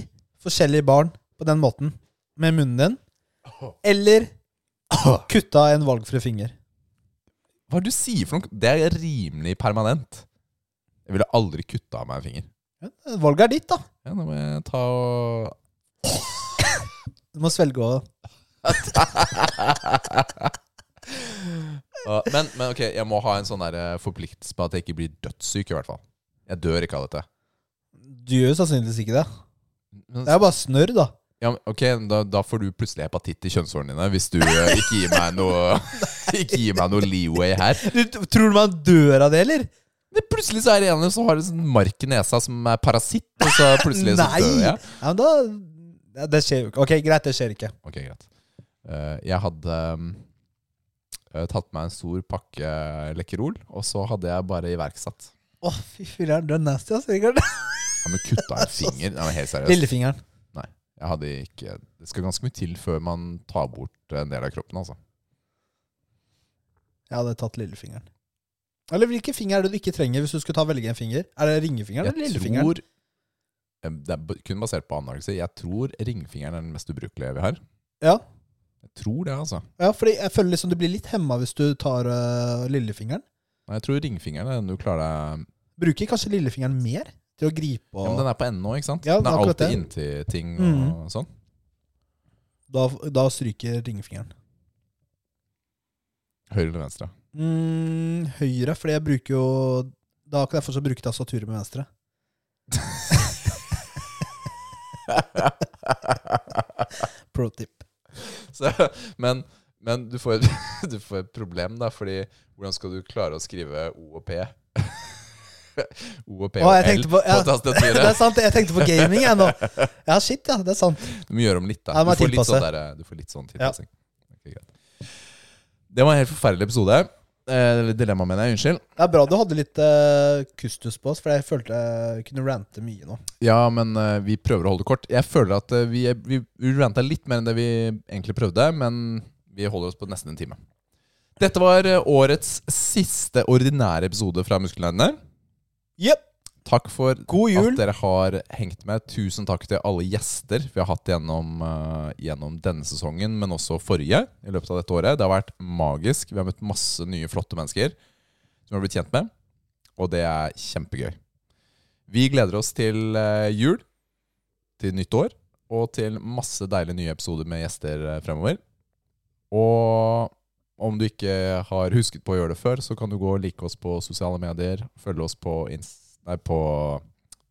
[SPEAKER 1] forskjellige barn på den måten med munnen din. Eller kutte av en valgfri finger.
[SPEAKER 2] Hva er det du sier for noe? Det er rimelig permanent. Jeg ville aldri kutta av meg en finger.
[SPEAKER 1] Ja, valget er ditt, da.
[SPEAKER 2] Ja, nå må jeg ta og
[SPEAKER 1] Du må svelge og
[SPEAKER 2] Ja, men, men ok, jeg må ha en sånn der, eh, forpliktelse på at jeg ikke blir dødssyk, i hvert fall. Jeg dør ikke av dette.
[SPEAKER 1] Du gjør jo sannsynligvis ikke det. Det
[SPEAKER 2] Men,
[SPEAKER 1] er jo bare snørr, da.
[SPEAKER 2] ja, men ok, da, da får du plutselig hepatitt i kjønnshårene dine hvis du eh, ikke gir meg noe Ikke gi meg noe leeway her.
[SPEAKER 1] Du, t- tror du man dør av det, eller?
[SPEAKER 2] Men plutselig så er det en som har en sånn mark i nesa som er parasitt, og så plutselig så
[SPEAKER 1] Nei!
[SPEAKER 2] dør
[SPEAKER 1] Ja,
[SPEAKER 2] jeg.
[SPEAKER 1] men da ja, Det skjer jo ikke. Ok, greit, det skjer ikke.
[SPEAKER 2] Ok, greit. Eh, jeg hadde um, eh, tatt meg en stor pakke Lekkerol, og så hadde jeg bare iverksatt.
[SPEAKER 1] Å, fy filler'n, du er nasty, ass, Rikard.
[SPEAKER 2] Ja, men kutta en finger? Nei, men helt seriøst.
[SPEAKER 1] Lillefingeren.
[SPEAKER 2] Jeg hadde ikke, det skal ganske mye til før man tar bort en del av kroppen, altså.
[SPEAKER 1] Jeg hadde tatt lillefingeren. Eller hvilken finger er det du ikke trenger hvis du skulle ta velge en finger? Er det ringefingeren eller
[SPEAKER 2] Jeg
[SPEAKER 1] lillefingeren?
[SPEAKER 2] tror Eh, Det er b- kun basert på anmeldelse. Jeg tror ringfingeren er den mest ubrukelige vi har.
[SPEAKER 1] Ja.
[SPEAKER 2] Jeg tror det, altså.
[SPEAKER 1] ja, fordi jeg føler liksom du blir litt hemma hvis du tar øh, lillefingeren.
[SPEAKER 2] Nei, Jeg tror ringfingeren er den du klarer deg
[SPEAKER 1] Bruker kanskje lillefingeren mer til å gripe
[SPEAKER 2] ja,
[SPEAKER 1] og
[SPEAKER 2] men Den er på enden nå, ikke sant?
[SPEAKER 1] Ja,
[SPEAKER 2] den er
[SPEAKER 1] akkurat
[SPEAKER 2] alltid inntil ting og
[SPEAKER 1] Mhm.
[SPEAKER 2] sånn.
[SPEAKER 1] da, da stryker ringefingeren.
[SPEAKER 2] Høyre eller venstre?
[SPEAKER 1] Mm, høyre, fordi jeg bruker jo Da kan jeg fortsatt bruke tastaturet med venstre. Pro tip.
[SPEAKER 2] Så, men men du, får et, du får et problem, da, fordi hvordan skal du klare å skrive O og P? O og P
[SPEAKER 1] Å,
[SPEAKER 2] og
[SPEAKER 1] jeg
[SPEAKER 2] L
[SPEAKER 1] tenkte på- ja.
[SPEAKER 2] på tastaturet.
[SPEAKER 1] Det er sant, jeg tenkte på gaming jeg nå. Ja, shit, ja. Det er sant.
[SPEAKER 2] Du må gjøre om litt, da.
[SPEAKER 1] Ja, det må
[SPEAKER 2] du, får litt
[SPEAKER 1] tilpasse.
[SPEAKER 2] sånn der, du får litt sånn tilpassing. Ok, greit. Det var en helt forferdelig episode. Eh, Eller dilemma, mener jeg. Unnskyld.
[SPEAKER 1] Det er bra du hadde litt eh, kustus på oss, for jeg følte jeg kunne rante mye nå.
[SPEAKER 2] Ja, men eh, vi prøver å holde det kort. Jeg føler at eh, vi, vi, vi ranta litt mer enn det vi egentlig prøvde, men vi holder oss på nesten en time. Dette var eh, årets siste ordinære episode fra Muskelnerdene.
[SPEAKER 1] Jepp.
[SPEAKER 2] Takk for
[SPEAKER 1] God jul.
[SPEAKER 2] at dere har hengt med. Tusen takk til alle gjester vi har hatt gjennom, eh, gjennom denne sesongen, men også forrige. i løpet av dette året. Det har vært magisk. Vi har møtt masse nye, flotte mennesker som vi har blitt kjent med, og det er kjempegøy. Vi gleder oss til eh, jul, til nytt år, og til masse deilige nye episoder med gjester eh, fremover. Og om du ikke har husket på å gjøre det før, så kan du gå og like oss på sosiale medier. Følge oss på, ins nei, på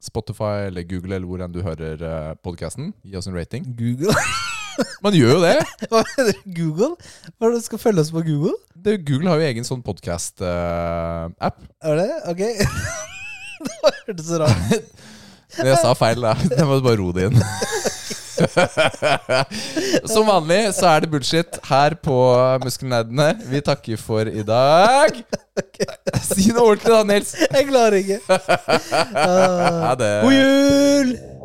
[SPEAKER 2] Spotify eller Google eller hvor enn du hører eh, podcasten. Gi oss en rating.
[SPEAKER 1] Google?
[SPEAKER 2] Man gjør jo det!
[SPEAKER 1] Hva mener du? Google? Hva er det du skal følge oss på Google?
[SPEAKER 2] det Google har jo egen sånn eh, podkast-app.
[SPEAKER 1] Er det? Ok. det var- hørtes så rart ut.
[SPEAKER 2] Men jeg sa feil, da. Jeg må bare ro det inn. Som vanlig så er det bullshit her på Muskelnerdene. Vi takker for i dag. Si noe ordentlig, da, Nils.
[SPEAKER 1] Jeg klarer ikke. Ah.
[SPEAKER 2] Ha det.
[SPEAKER 1] God jul!